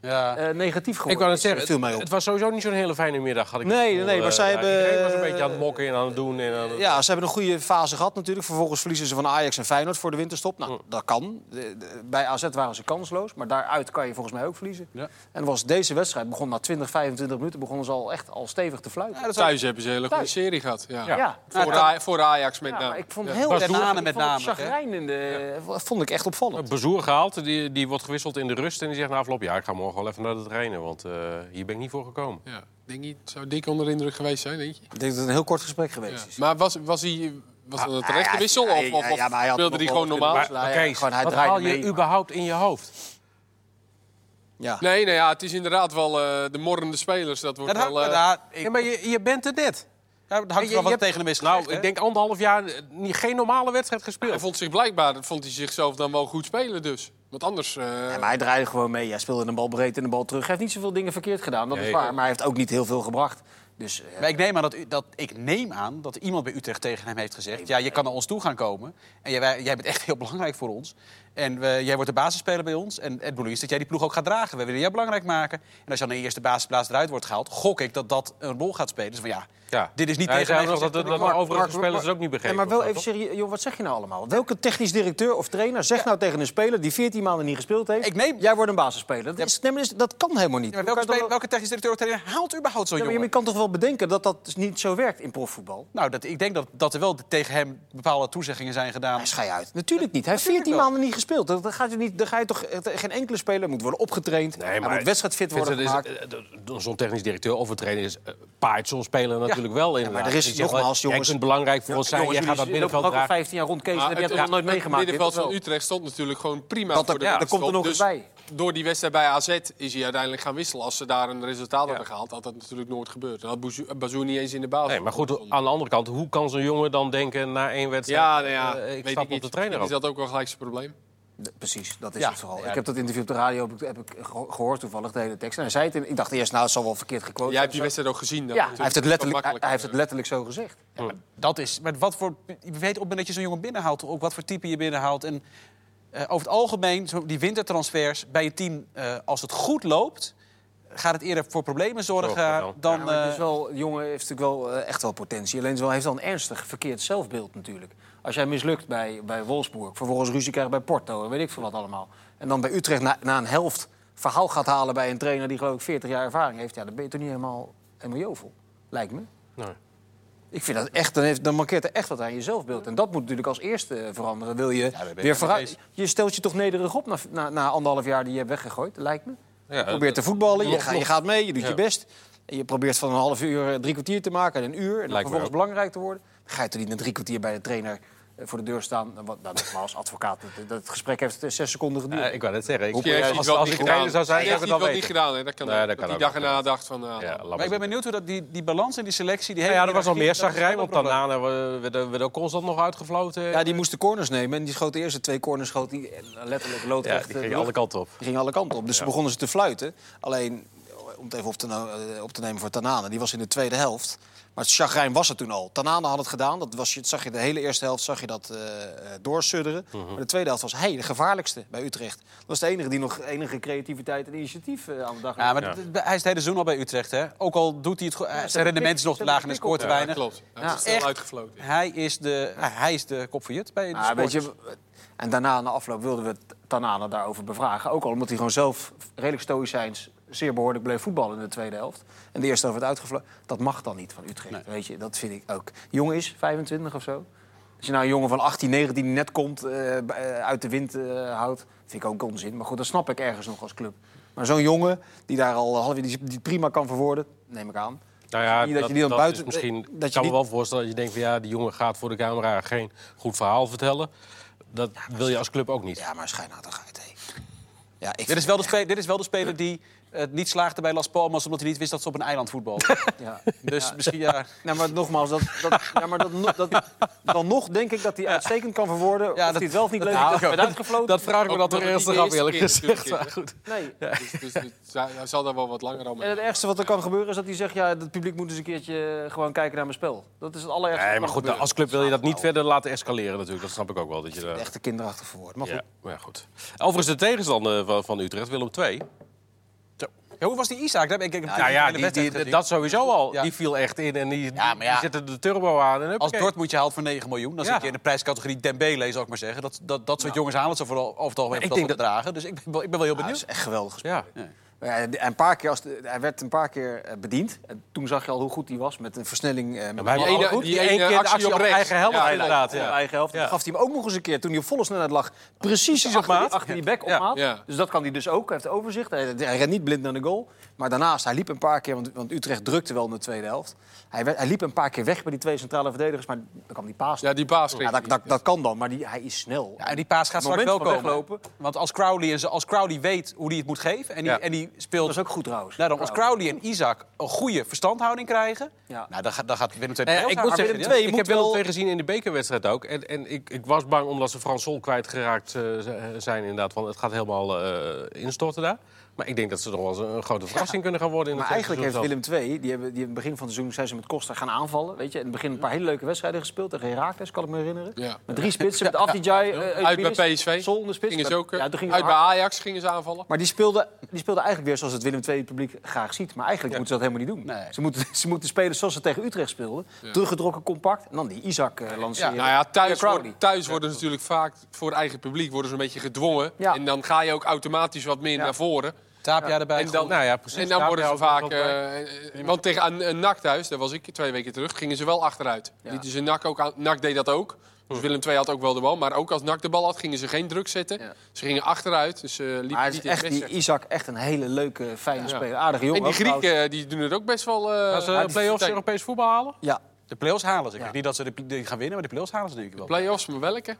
[SPEAKER 2] Ja.
[SPEAKER 3] eh, negatief geworden
[SPEAKER 1] Ik wou net
[SPEAKER 3] is.
[SPEAKER 1] zeggen,
[SPEAKER 3] viel mij
[SPEAKER 1] het,
[SPEAKER 3] op.
[SPEAKER 1] het was sowieso niet zo'n hele fijne middag. Had ik het
[SPEAKER 3] Nee,
[SPEAKER 1] gevoel.
[SPEAKER 3] nee, maar
[SPEAKER 1] Eh,
[SPEAKER 3] zij
[SPEAKER 1] ja,
[SPEAKER 3] hebben-
[SPEAKER 1] Iedereen was een beetje aan het mokken en aan het doen. En aan het...
[SPEAKER 3] Ja, ze hebben een goede fase gehad natuurlijk. Vervolgens verliezen ze van Ajax en Feyenoord voor de winterstop. Nou, dat kan. De- de- Bij AZ waren ze kansloos, maar daaruit kan je volgens mij ook verliezen.
[SPEAKER 2] Ja.
[SPEAKER 3] En was deze wedstrijd begon na 20, 25 minuten begonnen ze al echt al stevig te fluiten.
[SPEAKER 2] Ja, dat is ook-
[SPEAKER 4] Thuis hebben ze een hele goede
[SPEAKER 3] Thuis.
[SPEAKER 4] serie gehad. Ja.
[SPEAKER 3] Ja.
[SPEAKER 4] Voor, Aj- voor Ajax met
[SPEAKER 3] Ja,
[SPEAKER 4] name.
[SPEAKER 3] maar ik vond
[SPEAKER 4] Nou, Ja.
[SPEAKER 3] heel
[SPEAKER 2] Bas
[SPEAKER 3] erg
[SPEAKER 2] Doornen
[SPEAKER 3] ik
[SPEAKER 2] met
[SPEAKER 3] vond het
[SPEAKER 2] name, hè?
[SPEAKER 3] chagrijnende- vond ik echt opvallend.
[SPEAKER 1] Bezoer gehaald, die, die wordt gewisseld in de rust. En die zegt na afloop, ja, ik ga morgen wel even naar de trainen. Want eh, hier ben ik niet voor gekomen.
[SPEAKER 4] Ja. Denk je, zou dik onder de indruk geweest zijn, denk je?
[SPEAKER 3] Ik denk dat het een heel kort gesprek geweest
[SPEAKER 4] Ja.
[SPEAKER 3] is.
[SPEAKER 4] Maar was, was, hij, was dat een terechte
[SPEAKER 3] hij-
[SPEAKER 4] wissel?
[SPEAKER 3] Ah, hij-
[SPEAKER 4] Of, of,
[SPEAKER 3] ja,
[SPEAKER 4] of
[SPEAKER 3] maar hij had
[SPEAKER 4] speelde
[SPEAKER 3] nog wel
[SPEAKER 4] hij gewoon
[SPEAKER 3] kunnen
[SPEAKER 4] normaal?
[SPEAKER 1] Maar,
[SPEAKER 3] Nou ja,
[SPEAKER 1] maar Kees,
[SPEAKER 3] gewoon, hij
[SPEAKER 1] wat
[SPEAKER 3] draaide
[SPEAKER 1] haal je
[SPEAKER 3] mee, maar-
[SPEAKER 1] überhaupt in je hoofd?
[SPEAKER 3] Ja.
[SPEAKER 4] Nee, nee ja, het is inderdaad wel eh, de morrende spelers. Dat wordt
[SPEAKER 2] Ja, dat-
[SPEAKER 4] wel... eh,
[SPEAKER 2] ja, ik-
[SPEAKER 1] Ja, maar je, je bent er net.
[SPEAKER 2] ja, dat hangt
[SPEAKER 1] je-
[SPEAKER 2] er wel
[SPEAKER 1] je
[SPEAKER 2] wat
[SPEAKER 1] hebt-
[SPEAKER 2] tegen de mensen
[SPEAKER 1] Nou, ik denk anderhalf jaar eh, niet, geen normale wedstrijd gespeeld.
[SPEAKER 4] Hij vond zich blijkbaar vond hij zichzelf dan wel goed spelen dus. Want anders... eh,
[SPEAKER 3] Ja, maar hij draaide gewoon mee. Hij speelde een bal breed en een bal terug. Hij heeft niet zoveel dingen verkeerd gedaan, dat
[SPEAKER 1] Nee.
[SPEAKER 3] is waar. Maar hij heeft ook niet heel veel gebracht. Dus eh,
[SPEAKER 2] Maar ik neem, aan dat, u- dat, ik neem aan dat iemand bij Utrecht tegen hem heeft gezegd... ja, je kan naar ons toe gaan komen en jij, wij- jij bent echt heel belangrijk voor ons. En we- jij wordt de basisspeler bij ons. En het bedoel is dat jij die ploeg ook gaat dragen. We willen jou belangrijk maken. En als je dan de eerste basisplaats eruit wordt gehaald... gok ik dat dat een rol gaat spelen. Dus van ja,
[SPEAKER 1] Ja.
[SPEAKER 2] dit is niet
[SPEAKER 1] Hij
[SPEAKER 2] tegen
[SPEAKER 1] zei
[SPEAKER 2] mij
[SPEAKER 1] ook nog
[SPEAKER 2] gezegd,
[SPEAKER 1] dat-
[SPEAKER 2] maar-
[SPEAKER 1] dat- overige spelers
[SPEAKER 3] maar-
[SPEAKER 1] het ook niet begrepen,
[SPEAKER 3] Ja, maar wel
[SPEAKER 1] of
[SPEAKER 3] even serieus, joh, wat zeg je nou allemaal? Welke technisch directeur of trainer zegt nou tegen een speler die 14 maanden niet gespeeld heeft:
[SPEAKER 2] Ik neem-
[SPEAKER 3] Jij wordt een basisspeler. Dat, is, nee, maar dat is- dat kan helemaal niet.
[SPEAKER 2] Ja, maar
[SPEAKER 3] Hoe kan
[SPEAKER 2] welke,
[SPEAKER 3] je
[SPEAKER 2] spe-
[SPEAKER 3] dan-
[SPEAKER 2] welke technisch directeur of trainer haalt überhaupt zo'n
[SPEAKER 3] Ja, maar
[SPEAKER 2] jongen?
[SPEAKER 3] je kan toch wel bedenken dat dat dus niet zo werkt in profvoetbal?
[SPEAKER 2] Nou, dat, ik denk dat, dat er wel tegen hem bepaalde toezeggingen zijn gedaan.
[SPEAKER 3] Hij schei uit. Natuurlijk niet. Hij heeft 14
[SPEAKER 2] wel.
[SPEAKER 3] maanden niet gespeeld. Dan dan gaat je niet, dan ga je toch eh, geen enkele speler moet worden opgetraind.
[SPEAKER 1] Nee,
[SPEAKER 3] hij
[SPEAKER 1] maar
[SPEAKER 3] moet wedstrijdfit
[SPEAKER 1] Vindt
[SPEAKER 3] worden
[SPEAKER 1] ze,
[SPEAKER 3] gemaakt.
[SPEAKER 1] dus, eh, eh, Zo'n technisch directeur of een trainer is, eh, paait zo'n speler natuurlijk wel in.
[SPEAKER 3] maar er is nogmaals, jongens-
[SPEAKER 1] Jij kunt belangrijk voor ons zijn, jij gaat dat middenveld
[SPEAKER 3] ook al
[SPEAKER 1] dragen.
[SPEAKER 3] 15 jaar rond Kees.
[SPEAKER 4] maar
[SPEAKER 3] en heb je
[SPEAKER 4] het-
[SPEAKER 3] dat nog nooit
[SPEAKER 4] het
[SPEAKER 3] meegemaakt.
[SPEAKER 4] middenveld
[SPEAKER 3] Dit wel.
[SPEAKER 4] van Utrecht stond natuurlijk gewoon prima
[SPEAKER 3] Dat er-
[SPEAKER 4] voor de
[SPEAKER 3] ja, er komt er
[SPEAKER 4] winterstop.
[SPEAKER 3] nog eens bij.
[SPEAKER 4] Dus door die wedstrijd bij AZ is hij uiteindelijk gaan wisselen. Als ze daar een resultaat hadden gehaald, had dat natuurlijk nooit gebeurd. Dan had Bouzou- Bazoer niet eens in de baas.
[SPEAKER 1] Nee, maar goed, aan de andere kant, hoe kan zo'n jongen dan denken na één wedstrijd...
[SPEAKER 4] ja, nou ja,
[SPEAKER 1] eh, ik
[SPEAKER 4] weet
[SPEAKER 1] stap
[SPEAKER 4] niet.
[SPEAKER 1] op de trainer
[SPEAKER 4] Is
[SPEAKER 1] af?
[SPEAKER 4] dat ook wel gelijk zijn probleem?
[SPEAKER 3] De- Precies, dat is
[SPEAKER 2] Ja,
[SPEAKER 3] het vooral.
[SPEAKER 2] ja.
[SPEAKER 3] Ik heb dat interview op de radio heb ik, heb ik geho- gehoord toevallig, de hele tekst. En hij zei het, in- ik dacht eerst, nou, het zal wel verkeerd gequote
[SPEAKER 4] Jij hebt die
[SPEAKER 3] zijn.
[SPEAKER 4] wedstrijd ook gezien.
[SPEAKER 3] Ja,
[SPEAKER 4] dat natuurlijk
[SPEAKER 3] hij heeft, het
[SPEAKER 4] zo
[SPEAKER 3] letterlijk, hij,
[SPEAKER 4] makkelijk,
[SPEAKER 3] hij heeft het letterlijk zo gezegd.
[SPEAKER 2] Dat is. Met wat voor. Je weet op het moment dat je zo'n jongen binnenhaalt, toch ook wat voor type je binnenhaalt. En eh, over het algemeen, zo, die wintertransfers bij je team, eh, als het goed loopt, gaat het eerder voor problemen zorgen
[SPEAKER 1] Zorgen dan.
[SPEAKER 2] dan.
[SPEAKER 3] Oh, Ja, maar het is
[SPEAKER 2] eh,
[SPEAKER 3] wel, de jongen heeft natuurlijk wel eh, echt wel potentie. Alleen het is wel, heeft wel een ernstig verkeerd zelfbeeld natuurlijk. Als jij mislukt bij, bij Wolfsburg, vervolgens ruzie krijgt bij Porto en weet ik veel wat allemaal. En dan bij Utrecht na, na een helft verhaal gaat halen bij een trainer die geloof ik 40 jaar ervaring heeft. Ja, dan ben je toch niet helemaal, helemaal jovel, lijkt me.
[SPEAKER 1] Nee.
[SPEAKER 3] Ik vind dat echt, dan, heeft, dan markeert er echt wat aan je zelfbeeld. En dat moet natuurlijk als eerste eh, veranderen. Wil je
[SPEAKER 2] ben ik
[SPEAKER 3] weer
[SPEAKER 2] mee
[SPEAKER 3] vooruit?
[SPEAKER 2] eens.
[SPEAKER 3] Je stelt je toch nederig op na, na, na anderhalf jaar die je hebt weggegooid, lijkt me.
[SPEAKER 1] Ja, eh,
[SPEAKER 3] je probeert te voetballen, je,
[SPEAKER 1] nog-
[SPEAKER 3] ga-
[SPEAKER 1] nog-
[SPEAKER 3] je gaat mee, je doet
[SPEAKER 1] Ja.
[SPEAKER 3] je best. En je probeert van een half uur eh, drie kwartier te maken en een uur. En
[SPEAKER 1] me
[SPEAKER 3] dan vervolgens
[SPEAKER 1] ook.
[SPEAKER 3] belangrijk te worden. Dan ga je toch niet na drie kwartier bij de trainer eh, voor de deur staan. En Wat, nou, nogmaals, advocaat, dat, dat gesprek heeft eh, zes seconden geduurd.
[SPEAKER 1] Eh, ik wou net zeggen, ik,
[SPEAKER 4] Misschien heeft hij
[SPEAKER 1] als,
[SPEAKER 4] het wel
[SPEAKER 1] als
[SPEAKER 4] niet
[SPEAKER 1] ik
[SPEAKER 4] gedaan.
[SPEAKER 1] trainer zou zijn,
[SPEAKER 4] Misschien
[SPEAKER 1] zou ik
[SPEAKER 4] heeft
[SPEAKER 1] het dan
[SPEAKER 4] hij het wel
[SPEAKER 1] weten.
[SPEAKER 4] niet gedaan. Hè? Dat kan
[SPEAKER 1] Nee,
[SPEAKER 4] ook.
[SPEAKER 1] dat
[SPEAKER 4] dat
[SPEAKER 1] kan
[SPEAKER 4] hij
[SPEAKER 1] ook,
[SPEAKER 4] dag
[SPEAKER 1] dat
[SPEAKER 4] erna dacht van... ah,
[SPEAKER 1] Ja,
[SPEAKER 4] nou,
[SPEAKER 1] laat
[SPEAKER 2] maar ik ben
[SPEAKER 1] maar Nou
[SPEAKER 2] benieuwd hoe dat die, die balans en die selectie. Die
[SPEAKER 1] ja,
[SPEAKER 2] hele
[SPEAKER 1] ja, er was al meer
[SPEAKER 2] hiërarchie, dat is
[SPEAKER 1] zagrijn
[SPEAKER 2] wel een
[SPEAKER 1] op
[SPEAKER 2] probleem.
[SPEAKER 1] daarna. Werd ook constant nog uitgefloten.
[SPEAKER 3] Ja, die moest de corners nemen. En die schoot de eerste twee corners schoot die eh, letterlijk
[SPEAKER 1] Ja,
[SPEAKER 3] loodrecht.
[SPEAKER 1] die
[SPEAKER 3] eh,
[SPEAKER 1] ging
[SPEAKER 3] de
[SPEAKER 1] alle
[SPEAKER 3] lucht.
[SPEAKER 1] kanten op.
[SPEAKER 3] Die gingen alle kanten op. Dus ze begonnen ze te fluiten. Alleen, om het even op te, no- eh, op te nemen voor Tanane, die was in de tweede helft. Maar het chagrijn was er toen al. Tanane had het gedaan. Dat, was, je- dat zag je de hele eerste helft zag je dat eh, eh, doorsudderen.
[SPEAKER 1] Mhm.
[SPEAKER 3] Maar de tweede helft was hij de gevaarlijkste bij Utrecht. Dat was de enige die nog enige creativiteit en initiatief eh, aan de dag
[SPEAKER 2] Ja,
[SPEAKER 3] legde.
[SPEAKER 2] maar dat- hij is het hele seizoen al bij Utrecht, hè? Ook al doet hij het goed. eh,
[SPEAKER 3] ze
[SPEAKER 2] zijn
[SPEAKER 3] hebben
[SPEAKER 2] rendement is
[SPEAKER 3] pik-
[SPEAKER 2] nog
[SPEAKER 3] ze
[SPEAKER 2] te laag en
[SPEAKER 3] hebben
[SPEAKER 2] hij scoort te
[SPEAKER 4] ja, dat
[SPEAKER 2] weinig.
[SPEAKER 4] klopt. Hij
[SPEAKER 3] Ja,
[SPEAKER 4] is snel
[SPEAKER 2] echt.
[SPEAKER 4] uitgefloten.
[SPEAKER 2] Hij is, de, ah, hij is de kop voor jut bij de
[SPEAKER 3] Ah, weet
[SPEAKER 2] supporters.
[SPEAKER 3] je, en daarna, na afloop, wilden we Tanane daarover bevragen. Ook al omdat hij gewoon zelf redelijk stoïcijns zeer behoorlijk bleef voetballen in de tweede helft. En de eerste helft werd uitgevlogen. Dat mag dan niet van Utrecht, weet je. Dat vind ik ook. Jong is, 25 of zo. Als je nou een jongen van 18, 19 die net komt, eh, bij- eh, uit de wind eh, houdt... vind ik ook onzin. Maar goed, dat snap ik ergens nog als club. Maar zo'n jongen die daar al half die, die prima kan verwoorden, neem ik aan.
[SPEAKER 1] Nou ja,
[SPEAKER 3] Niet dat je die dan
[SPEAKER 1] dat
[SPEAKER 3] buiten-
[SPEAKER 1] is misschien
[SPEAKER 3] eh,
[SPEAKER 1] dat
[SPEAKER 3] dat
[SPEAKER 1] je
[SPEAKER 3] je
[SPEAKER 1] kan me
[SPEAKER 3] niet-
[SPEAKER 1] wel voorstellen dat je denkt van ja, die jongen gaat voor de camera geen goed verhaal vertellen. Dat wil je als club ook niet.
[SPEAKER 3] Ja, maar schijnhoudigheid, hé. Ja, ik
[SPEAKER 2] Dit is, wel de spe- dit is wel de speler die het niet slaagde bij Las Palmas... omdat hij niet wist dat ze op een
[SPEAKER 3] <laughs>
[SPEAKER 2] eiland voetbalden.
[SPEAKER 3] <laughs> Ja.
[SPEAKER 2] dus misschien ja...
[SPEAKER 3] Nou, maar nogmaals, dat, dat, ja, maar dat, no- dat, dan nog denk ik dat hij uitstekend kan verwoorden... of
[SPEAKER 2] dat-
[SPEAKER 3] hij het wel of niet leuk
[SPEAKER 2] hou
[SPEAKER 3] heeft
[SPEAKER 2] ik ook.
[SPEAKER 3] werd uitgefloten.
[SPEAKER 1] Dat vraag ik me
[SPEAKER 4] Ook
[SPEAKER 1] dan toch
[SPEAKER 4] omdat het
[SPEAKER 1] eerst
[SPEAKER 4] niet
[SPEAKER 1] af,
[SPEAKER 4] de
[SPEAKER 1] eerlijk
[SPEAKER 4] eerste keer
[SPEAKER 1] gezegd.
[SPEAKER 4] natuurlijk
[SPEAKER 1] Maar goed.
[SPEAKER 3] nee.
[SPEAKER 4] Dus, dus, dus hij hij zal daar wel wat langer al mee.
[SPEAKER 3] En het ergste wat er kan gebeuren is dat hij zegt... ja, het publiek moet eens een keertje gewoon kijken naar mijn spel. Dat is het allerergste.
[SPEAKER 1] Nee,
[SPEAKER 3] wat
[SPEAKER 1] maar
[SPEAKER 3] kan
[SPEAKER 1] goed,
[SPEAKER 3] gebeuren.
[SPEAKER 1] als club wil je dat
[SPEAKER 4] Nou.
[SPEAKER 1] niet verder laten escaleren natuurlijk. Dat snap ik ook wel. Dat je, daar-
[SPEAKER 3] Echt een kinderachtig verwoord. Maar goed.
[SPEAKER 1] ja, maar ja, goed. Overigens de tegenstander van, van Utrecht, Willem II.
[SPEAKER 2] Ja, hoe was die Isaac? Daar heb ik, ik heb hem
[SPEAKER 1] nou
[SPEAKER 2] in
[SPEAKER 1] ja,
[SPEAKER 2] de
[SPEAKER 1] die,
[SPEAKER 2] wedstrijd
[SPEAKER 1] die-
[SPEAKER 2] gezien.
[SPEAKER 1] dat sowieso al.
[SPEAKER 2] Ja.
[SPEAKER 1] Die viel echt in en die,
[SPEAKER 2] Ja, maar ja.
[SPEAKER 1] die zetten de turbo aan. En
[SPEAKER 2] Als
[SPEAKER 1] huppakee.
[SPEAKER 2] Dortmund je haalt voor 9 miljoen... dan
[SPEAKER 1] Ja.
[SPEAKER 2] zit je in de prijscategorie Dembele, zou ik maar zeggen. Dat, dat, dat soort jongens halen ze vooral over het algemeen
[SPEAKER 1] Ik
[SPEAKER 2] voor dat
[SPEAKER 1] denk
[SPEAKER 2] soort bedragen. Dus ik ben, wel- ik ben wel heel
[SPEAKER 3] Ja, dat
[SPEAKER 2] benieuwd.
[SPEAKER 3] is echt geweldig gespeeld.
[SPEAKER 1] Ja.
[SPEAKER 3] Ja, en een paar keer als de- hij werd een paar keer eh, bediend. En toen zag je al hoe goed hij was met een versnelling. eh, met
[SPEAKER 1] Maar
[SPEAKER 4] Die
[SPEAKER 1] die,
[SPEAKER 4] ene-
[SPEAKER 1] ene,
[SPEAKER 4] die
[SPEAKER 1] die
[SPEAKER 4] ene
[SPEAKER 1] één keer de
[SPEAKER 4] actie
[SPEAKER 1] actie
[SPEAKER 4] op
[SPEAKER 1] op,
[SPEAKER 4] rechts.
[SPEAKER 1] eigen helft
[SPEAKER 4] Ja,
[SPEAKER 1] inderdaad.
[SPEAKER 3] op
[SPEAKER 1] Ja.
[SPEAKER 3] eigen helft.
[SPEAKER 1] Ja.
[SPEAKER 3] Dat gaf hij hem ook nog eens een keer toen hij op volle snelheid lag. Precies
[SPEAKER 1] op
[SPEAKER 3] achter, die-
[SPEAKER 1] maat.
[SPEAKER 3] achter die bek op
[SPEAKER 1] Ja.
[SPEAKER 3] maat.
[SPEAKER 4] Ja.
[SPEAKER 3] Dus dat kan hij dus ook. Hij heeft overzicht. Hij, hij rent niet blind naar de goal. Maar daarnaast, hij liep een paar keer, want, want Utrecht drukte wel in de tweede helft. Hij, werd- hij liep een paar keer weg bij die twee centrale verdedigers, maar dan kwam die paas.
[SPEAKER 4] Ja, die baas kreeg
[SPEAKER 3] Ja, dat,
[SPEAKER 4] niet.
[SPEAKER 3] dat, dat kan dan, maar die, hij is snel.
[SPEAKER 2] Ja, en die paas gaat
[SPEAKER 3] Het
[SPEAKER 2] straks wel
[SPEAKER 3] moment
[SPEAKER 2] komen.
[SPEAKER 3] van weglopen.
[SPEAKER 2] Want als Crowley, en ze- als Crowley weet hoe hij het moet geven... en die,
[SPEAKER 1] Ja.
[SPEAKER 2] en die
[SPEAKER 3] Dat
[SPEAKER 2] speelt...
[SPEAKER 3] is ook goed trouwens.
[SPEAKER 2] Daarom, als Crowley en Isaac een goede verstandhouding krijgen...
[SPEAKER 3] Ja.
[SPEAKER 2] Nou, dan, gaat- dan gaat Willem II
[SPEAKER 1] Nou ja,
[SPEAKER 2] heel
[SPEAKER 1] ik
[SPEAKER 2] graag
[SPEAKER 1] moet
[SPEAKER 2] aan
[SPEAKER 1] zeggen,
[SPEAKER 2] winnen.
[SPEAKER 3] twee
[SPEAKER 1] ik
[SPEAKER 3] moet
[SPEAKER 1] heb Willem
[SPEAKER 3] wel-
[SPEAKER 1] II gezien in de bekerwedstrijd ook. En, en ik, ik was bang omdat ze Frans Sol kwijtgeraakt eh, z- eh, zijn inderdaad. Want het gaat helemaal eh, instorten daar. Maar ik denk dat ze nog wel eens een grote verrassing kunnen gaan worden. In
[SPEAKER 3] Maar
[SPEAKER 1] het
[SPEAKER 3] eigenlijk heeft
[SPEAKER 1] tweede
[SPEAKER 3] Willem II, die hebben, die in het begin van het seizoen zijn ze met Costa gaan aanvallen. Weet je, in het begin een paar hele leuke wedstrijden gespeeld tegen Herakles, kan ik me herinneren.
[SPEAKER 4] Ja.
[SPEAKER 3] Met drie spitsen,
[SPEAKER 4] <laughs>
[SPEAKER 3] met Afdijay, eh,
[SPEAKER 4] Uit bij
[SPEAKER 3] Eukbiris,
[SPEAKER 4] PSV.
[SPEAKER 3] Sol in de spits.
[SPEAKER 4] Gingen ze ook, eh,
[SPEAKER 3] ja, toen gingen
[SPEAKER 4] uit
[SPEAKER 3] ze
[SPEAKER 4] bij
[SPEAKER 3] hard.
[SPEAKER 4] Ajax gingen ze aanvallen.
[SPEAKER 3] Maar die speelden die speelde eigenlijk weer zoals het Willem II publiek graag ziet. Maar eigenlijk moeten ze dat helemaal niet doen.
[SPEAKER 2] Nee.
[SPEAKER 3] Ze, moeten, <laughs> ze moeten spelen zoals ze tegen Utrecht speelden. Teruggedrokken, compact. En dan die Isaac eh, lanceren.
[SPEAKER 4] Nou ja, thuis,
[SPEAKER 3] Crowley.
[SPEAKER 4] worden, thuis worden ze natuurlijk vaak voor eigen publiek worden ze een beetje gedwongen.
[SPEAKER 3] Ja.
[SPEAKER 4] En dan ga je ook automatisch wat meer naar voren.
[SPEAKER 2] Taapja erbij.
[SPEAKER 4] En dan,
[SPEAKER 1] goed. Nou ja, precies.
[SPEAKER 4] en dan
[SPEAKER 1] Daar
[SPEAKER 4] worden ze
[SPEAKER 1] ben je ook
[SPEAKER 4] vaak.
[SPEAKER 1] wel bij.
[SPEAKER 4] eh, eh, want tegen een, een NAC thuis, daar was ik twee weken terug, gingen ze wel achteruit.
[SPEAKER 3] Ja.
[SPEAKER 4] Lieten ze NAC ook aan. NAC deed dat ook. Dus Willem II had ook wel de bal. Maar ook als NAC de bal had, gingen ze geen druk zetten.
[SPEAKER 3] Ja.
[SPEAKER 4] Ze gingen achteruit. Dus eh liepen
[SPEAKER 3] Maar het
[SPEAKER 4] niet
[SPEAKER 3] is
[SPEAKER 4] in het
[SPEAKER 3] echt, die
[SPEAKER 4] westen.
[SPEAKER 3] Isaac echt een hele leuke, fijne
[SPEAKER 4] Ja.
[SPEAKER 3] speler. Aardige jongen.
[SPEAKER 4] En die
[SPEAKER 3] ook trouwens.
[SPEAKER 4] Grieken die doen het ook best wel. eh,
[SPEAKER 1] Gaan nou, ze
[SPEAKER 4] uit de
[SPEAKER 1] play-offs
[SPEAKER 4] verdediging.
[SPEAKER 1] Europees voetbal halen?
[SPEAKER 3] Ja,
[SPEAKER 2] De play-offs halen ze. Ik
[SPEAKER 3] Ja.
[SPEAKER 2] denk niet dat ze de, die gaan winnen, maar de play-offs halen ze denk ik wel.
[SPEAKER 4] Play-offs, maar welke?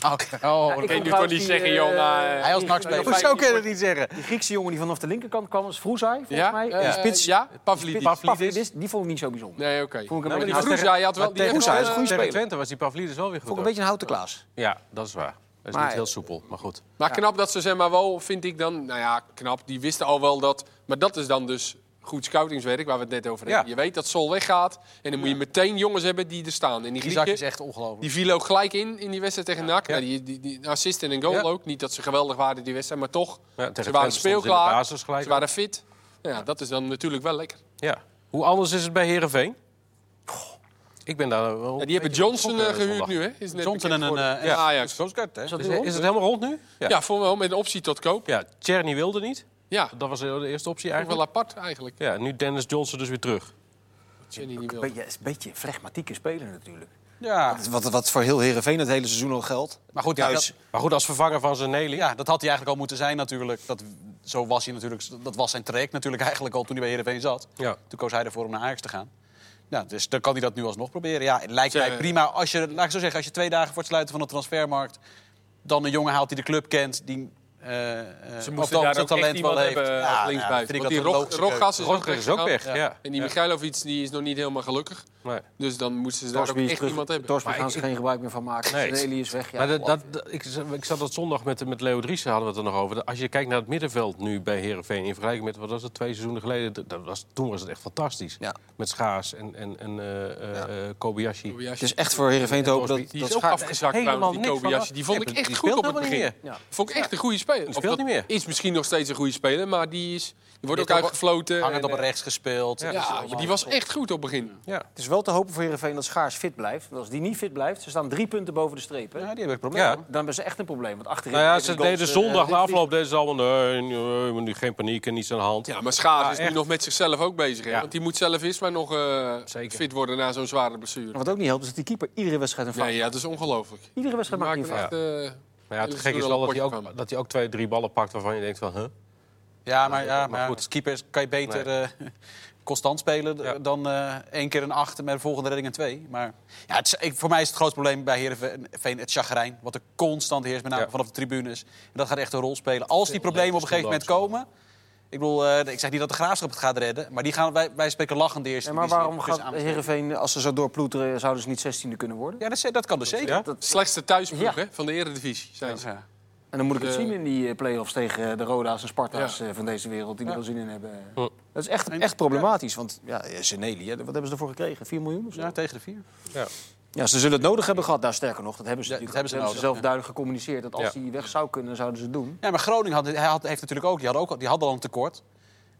[SPEAKER 2] Nou,
[SPEAKER 4] <laughs> Oh,
[SPEAKER 3] ik
[SPEAKER 4] dat kan je
[SPEAKER 3] vond
[SPEAKER 4] nu toch niet
[SPEAKER 3] trouwens die,
[SPEAKER 4] zeggen,
[SPEAKER 3] eh,
[SPEAKER 4] jongen.
[SPEAKER 2] hij als Max
[SPEAKER 3] Ja,
[SPEAKER 2] speler.
[SPEAKER 3] Hoezo kun je dat
[SPEAKER 1] niet zeggen?
[SPEAKER 3] Die Griekse jongen die vanaf de linkerkant kwam, was Vroezai, volgens
[SPEAKER 4] ja?
[SPEAKER 3] mij.
[SPEAKER 4] Eh,
[SPEAKER 3] die spits,
[SPEAKER 4] Ja, Pavlidis.
[SPEAKER 1] Pavlidis.
[SPEAKER 3] Pavlidis, die vond ik niet zo bijzonder.
[SPEAKER 4] Nee,
[SPEAKER 3] Vond
[SPEAKER 4] oké.
[SPEAKER 3] ik
[SPEAKER 4] Nou,
[SPEAKER 3] een
[SPEAKER 4] maar die
[SPEAKER 3] beetje-
[SPEAKER 4] Vroesa, je had wel... Die
[SPEAKER 1] tegen,
[SPEAKER 3] Vroesa is een
[SPEAKER 1] eh,
[SPEAKER 3] goede
[SPEAKER 1] tegen
[SPEAKER 3] speler.
[SPEAKER 1] Twente was die Pavlidis wel weer goed.
[SPEAKER 3] Vond ik een
[SPEAKER 1] hoor.
[SPEAKER 3] beetje een houten klaas.
[SPEAKER 1] Ja, dat is waar. Dat is
[SPEAKER 3] Maar-
[SPEAKER 1] niet heel soepel, maar goed.
[SPEAKER 4] Maar knap dat ze zeg maar wel, vind ik dan... Nou ja, knap. Die wisten al wel dat... Maar dat is dan dus goed scoutingswerk waar we het net over hebben.
[SPEAKER 1] Ja.
[SPEAKER 4] Je weet dat Sol weggaat. En dan moet je meteen jongens hebben die er staan. En
[SPEAKER 2] Die
[SPEAKER 4] die
[SPEAKER 2] zak
[SPEAKER 4] Grieken,
[SPEAKER 2] is echt ongelooflijk.
[SPEAKER 4] Die viel ook gelijk in in die wedstrijd tegen NAC. Nou, die, die, die assist en een goal
[SPEAKER 1] Ja.
[SPEAKER 4] ook. Niet dat ze geweldig waren die wedstrijd, maar toch.
[SPEAKER 1] tegen
[SPEAKER 4] ze
[SPEAKER 1] Twente stonden
[SPEAKER 4] waren
[SPEAKER 1] ze in de
[SPEAKER 4] speelklaar.
[SPEAKER 1] basis gelijk
[SPEAKER 4] ze waren fit. Nou ja, dat is dan natuurlijk wel lekker.
[SPEAKER 1] Ja. Hoe anders is het bij Herenveen? Ik ben daar. wel
[SPEAKER 4] Ja,
[SPEAKER 1] een
[SPEAKER 4] die hebben
[SPEAKER 1] beetje
[SPEAKER 4] Johnson
[SPEAKER 1] geschokt,
[SPEAKER 4] eh,
[SPEAKER 1] eh,
[SPEAKER 4] gehuurd
[SPEAKER 1] zondag.
[SPEAKER 4] nu, hè? Is net
[SPEAKER 2] Johnson en
[SPEAKER 4] bekend
[SPEAKER 2] een
[SPEAKER 4] geworden.
[SPEAKER 2] eh,
[SPEAKER 1] Ja.
[SPEAKER 4] Ajax.
[SPEAKER 2] hè?
[SPEAKER 1] Dus is, is het helemaal rond nu?
[SPEAKER 4] Ja, voor wel met een optie tot koop.
[SPEAKER 1] Ja, Tjerny wilde niet.
[SPEAKER 4] Ja,
[SPEAKER 1] Dat was de eerste optie
[SPEAKER 4] ook wel
[SPEAKER 1] eigenlijk.
[SPEAKER 4] apart eigenlijk.
[SPEAKER 1] Ja, nu Dennis Johnson dus weer terug.
[SPEAKER 4] Dat Jenny niet wil.
[SPEAKER 3] Beetje, is een beetje een flegmatieke speler natuurlijk.
[SPEAKER 2] Ja.
[SPEAKER 3] Wat, wat voor heel Herenveen het hele seizoen al geldt.
[SPEAKER 2] Maar goed, ja,
[SPEAKER 3] Thuis.
[SPEAKER 2] dat,
[SPEAKER 1] Maar goed, als vervanger van zijn Nelly.
[SPEAKER 2] ja, dat had hij eigenlijk al moeten zijn natuurlijk. Dat, zo was hij natuurlijk. Dat was zijn traject natuurlijk eigenlijk al toen hij bij Heerenveen zat.
[SPEAKER 1] Ja.
[SPEAKER 2] Toen koos hij ervoor om naar Ajax te gaan. Nou, dus dan kan hij dat nu alsnog proberen. Ja, het lijkt
[SPEAKER 4] Zeg,
[SPEAKER 2] mij prima. Als je, laat ik zo zeggen, als je twee dagen voor het sluiten van de transfermarkt... dan een jongen haalt die de club kent, die... eh, eh, of
[SPEAKER 4] Ze moesten
[SPEAKER 2] dan
[SPEAKER 4] daar
[SPEAKER 2] zijn
[SPEAKER 4] ook echt
[SPEAKER 2] talent wel
[SPEAKER 4] iemand
[SPEAKER 2] heeft.
[SPEAKER 4] hebben
[SPEAKER 2] Ja,
[SPEAKER 4] als
[SPEAKER 2] ja,
[SPEAKER 4] linksbuiten.
[SPEAKER 2] vind ik
[SPEAKER 4] Want
[SPEAKER 2] dat
[SPEAKER 4] die
[SPEAKER 2] een
[SPEAKER 4] Rog-
[SPEAKER 2] logische
[SPEAKER 4] Roggas is ook
[SPEAKER 1] Rotger is ook
[SPEAKER 4] weggegaan.
[SPEAKER 1] weg. Ja.
[SPEAKER 2] Ja.
[SPEAKER 4] En die Michailovic die is nog niet helemaal gelukkig.
[SPEAKER 1] Nee.
[SPEAKER 4] Dus dan moesten ze daar ook
[SPEAKER 3] Torsby is
[SPEAKER 4] echt
[SPEAKER 3] terug.
[SPEAKER 4] iemand hebben.
[SPEAKER 3] Torsby
[SPEAKER 1] Maar
[SPEAKER 3] gaan
[SPEAKER 1] ik-
[SPEAKER 3] ze geen gebruik meer van maken.
[SPEAKER 1] Nee.
[SPEAKER 3] Nee. is weg. Ja, oh,
[SPEAKER 1] maar dat, dat, dat- ik, ik zat dat zondag met, met Leo Driessen, hadden we het er nog over. Als je kijkt naar het middenveld nu bij Herenveen in vergelijking met wat was het twee seizoenen geleden, dat- dat was, toen was het echt fantastisch.
[SPEAKER 3] Ja.
[SPEAKER 1] Met Schaars en, en, en eh, eh, eh, Kobayashi.
[SPEAKER 4] Tobias.
[SPEAKER 3] het is echt voor Herenveen te hopen dat,
[SPEAKER 4] Die is
[SPEAKER 3] dat
[SPEAKER 4] ook
[SPEAKER 3] Schaar-
[SPEAKER 4] afgezakt
[SPEAKER 1] helemaal
[SPEAKER 4] trouwens, die
[SPEAKER 1] niks van
[SPEAKER 4] Kobayashi. Die vond
[SPEAKER 1] af.
[SPEAKER 4] ik
[SPEAKER 1] Nee,
[SPEAKER 4] echt
[SPEAKER 1] die
[SPEAKER 4] goed op
[SPEAKER 1] speelt
[SPEAKER 4] het begin.
[SPEAKER 1] helemaal niet
[SPEAKER 3] meer.
[SPEAKER 4] Vond ik echt een goede speler. Of
[SPEAKER 1] speelt
[SPEAKER 4] dat
[SPEAKER 1] niet meer.
[SPEAKER 4] Is misschien nog steeds een goede speler, maar die, is, die wordt
[SPEAKER 2] Dit
[SPEAKER 4] ook
[SPEAKER 2] ook-
[SPEAKER 4] uitgefloten.
[SPEAKER 2] Hangend
[SPEAKER 4] en,
[SPEAKER 2] op een
[SPEAKER 4] eh,
[SPEAKER 2] rechts gespeeld.
[SPEAKER 1] Ja.
[SPEAKER 2] Dus
[SPEAKER 4] Ja,
[SPEAKER 2] allemaal-
[SPEAKER 4] maar die was echt goed op het begin.
[SPEAKER 1] Ja.
[SPEAKER 3] Het is wel te hopen voor Herenveen dat Schaars fit blijft. Want als die niet fit blijft, ze staan drie punten boven de streep. Hè?
[SPEAKER 2] Ja, die hebben ik probleem.
[SPEAKER 1] Ja.
[SPEAKER 2] hoor.
[SPEAKER 3] Dan hebben ze echt een probleem. Want achterin
[SPEAKER 1] Nou ja,
[SPEAKER 3] tegen
[SPEAKER 1] ze
[SPEAKER 3] goals,
[SPEAKER 1] deden
[SPEAKER 3] eh,
[SPEAKER 1] zondag
[SPEAKER 3] dit
[SPEAKER 1] na afloop deden ze allemaal nee, nee, maar nu geen paniek en niets aan de hand.
[SPEAKER 4] Ja, maar Schaars is
[SPEAKER 1] echt.
[SPEAKER 4] nu nog met zichzelf ook bezig. hè?
[SPEAKER 1] Ja.
[SPEAKER 4] Want die moet zelf eerst maar nog eh,
[SPEAKER 1] Zeker.
[SPEAKER 4] fit worden na zo'n zware blessure.
[SPEAKER 3] Wat ook niet helpt, is dat die keeper iedere wedstrijd een fout
[SPEAKER 4] Nee, ja, het is ongelooflijk.
[SPEAKER 3] Iedere
[SPEAKER 4] Die
[SPEAKER 3] wedstrijd maakt
[SPEAKER 4] maken
[SPEAKER 3] een fout.
[SPEAKER 4] echt... eh,
[SPEAKER 1] Maar ja,
[SPEAKER 4] Dit
[SPEAKER 1] het
[SPEAKER 4] is
[SPEAKER 1] gek is
[SPEAKER 4] toen
[SPEAKER 1] wel
[SPEAKER 4] al
[SPEAKER 1] dat hij,
[SPEAKER 4] een potje
[SPEAKER 1] ook, dat hij ook twee, drie ballen pakt waarvan je denkt van, huh?
[SPEAKER 2] Nou, Ja, maar, ja, maar
[SPEAKER 1] goed.
[SPEAKER 2] goed. als keeper kan je beter eh, <laughs> constant spelen d-
[SPEAKER 1] Ja.
[SPEAKER 2] dan eh, één keer een acht en met de volgende redding een twee. Maar ja, het is- ik, voor mij is het grootste probleem bij Heerenveen het chagrijn. Wat er constant heerst, met name
[SPEAKER 1] Ja.
[SPEAKER 2] vanaf de tribunes. En dat gaat echt een rol spelen. Als die problemen op een gegeven moment
[SPEAKER 1] zondags.
[SPEAKER 2] komen... Ik bedoel, eh, ik zeg niet dat de Graafschap het gaat redden. Maar die gaan, wij, wij spreken lachend eerst.
[SPEAKER 3] Ja, maar
[SPEAKER 2] Die-
[SPEAKER 3] waarom
[SPEAKER 2] dus
[SPEAKER 3] gaat
[SPEAKER 2] aan-
[SPEAKER 3] Herenveen, als ze zo doorploeteren, zouden ze niet 16e kunnen worden?
[SPEAKER 2] Ja, dat, is- dat kan dus zeker.
[SPEAKER 1] Ja?
[SPEAKER 4] Slechtste thuisploeg
[SPEAKER 3] Ja.
[SPEAKER 4] hè, van de eredivisie. Zijn ze.
[SPEAKER 2] Ja.
[SPEAKER 3] En dan moet ik het
[SPEAKER 4] De-
[SPEAKER 3] zien in die eh, play-offs tegen eh, de Roda's en Sparta's
[SPEAKER 4] Ja.
[SPEAKER 3] eh, van deze wereld, die er wel zin in hebben.
[SPEAKER 1] Hm.
[SPEAKER 3] Dat is echt, echt problematisch, want ja, eh, Zeneli, hè, wat hebben ze ervoor gekregen? 4 miljoen of zo?
[SPEAKER 2] Ja,
[SPEAKER 3] Ja,
[SPEAKER 2] tegen de vier.
[SPEAKER 1] Ja.
[SPEAKER 3] ze zullen het nodig hebben gehad. Nou, sterker nog, dat hebben ze,
[SPEAKER 2] Ja,
[SPEAKER 3] natuurlijk-
[SPEAKER 2] dat hebben ze nodig,
[SPEAKER 3] zelf
[SPEAKER 2] ja.
[SPEAKER 3] duidelijk gecommuniceerd. Dat als
[SPEAKER 1] Ja.
[SPEAKER 3] die weg zou kunnen, zouden ze het doen.
[SPEAKER 2] Ja, maar Groningen had, hij had, heeft natuurlijk ook, die had ook al- die hadden al een tekort.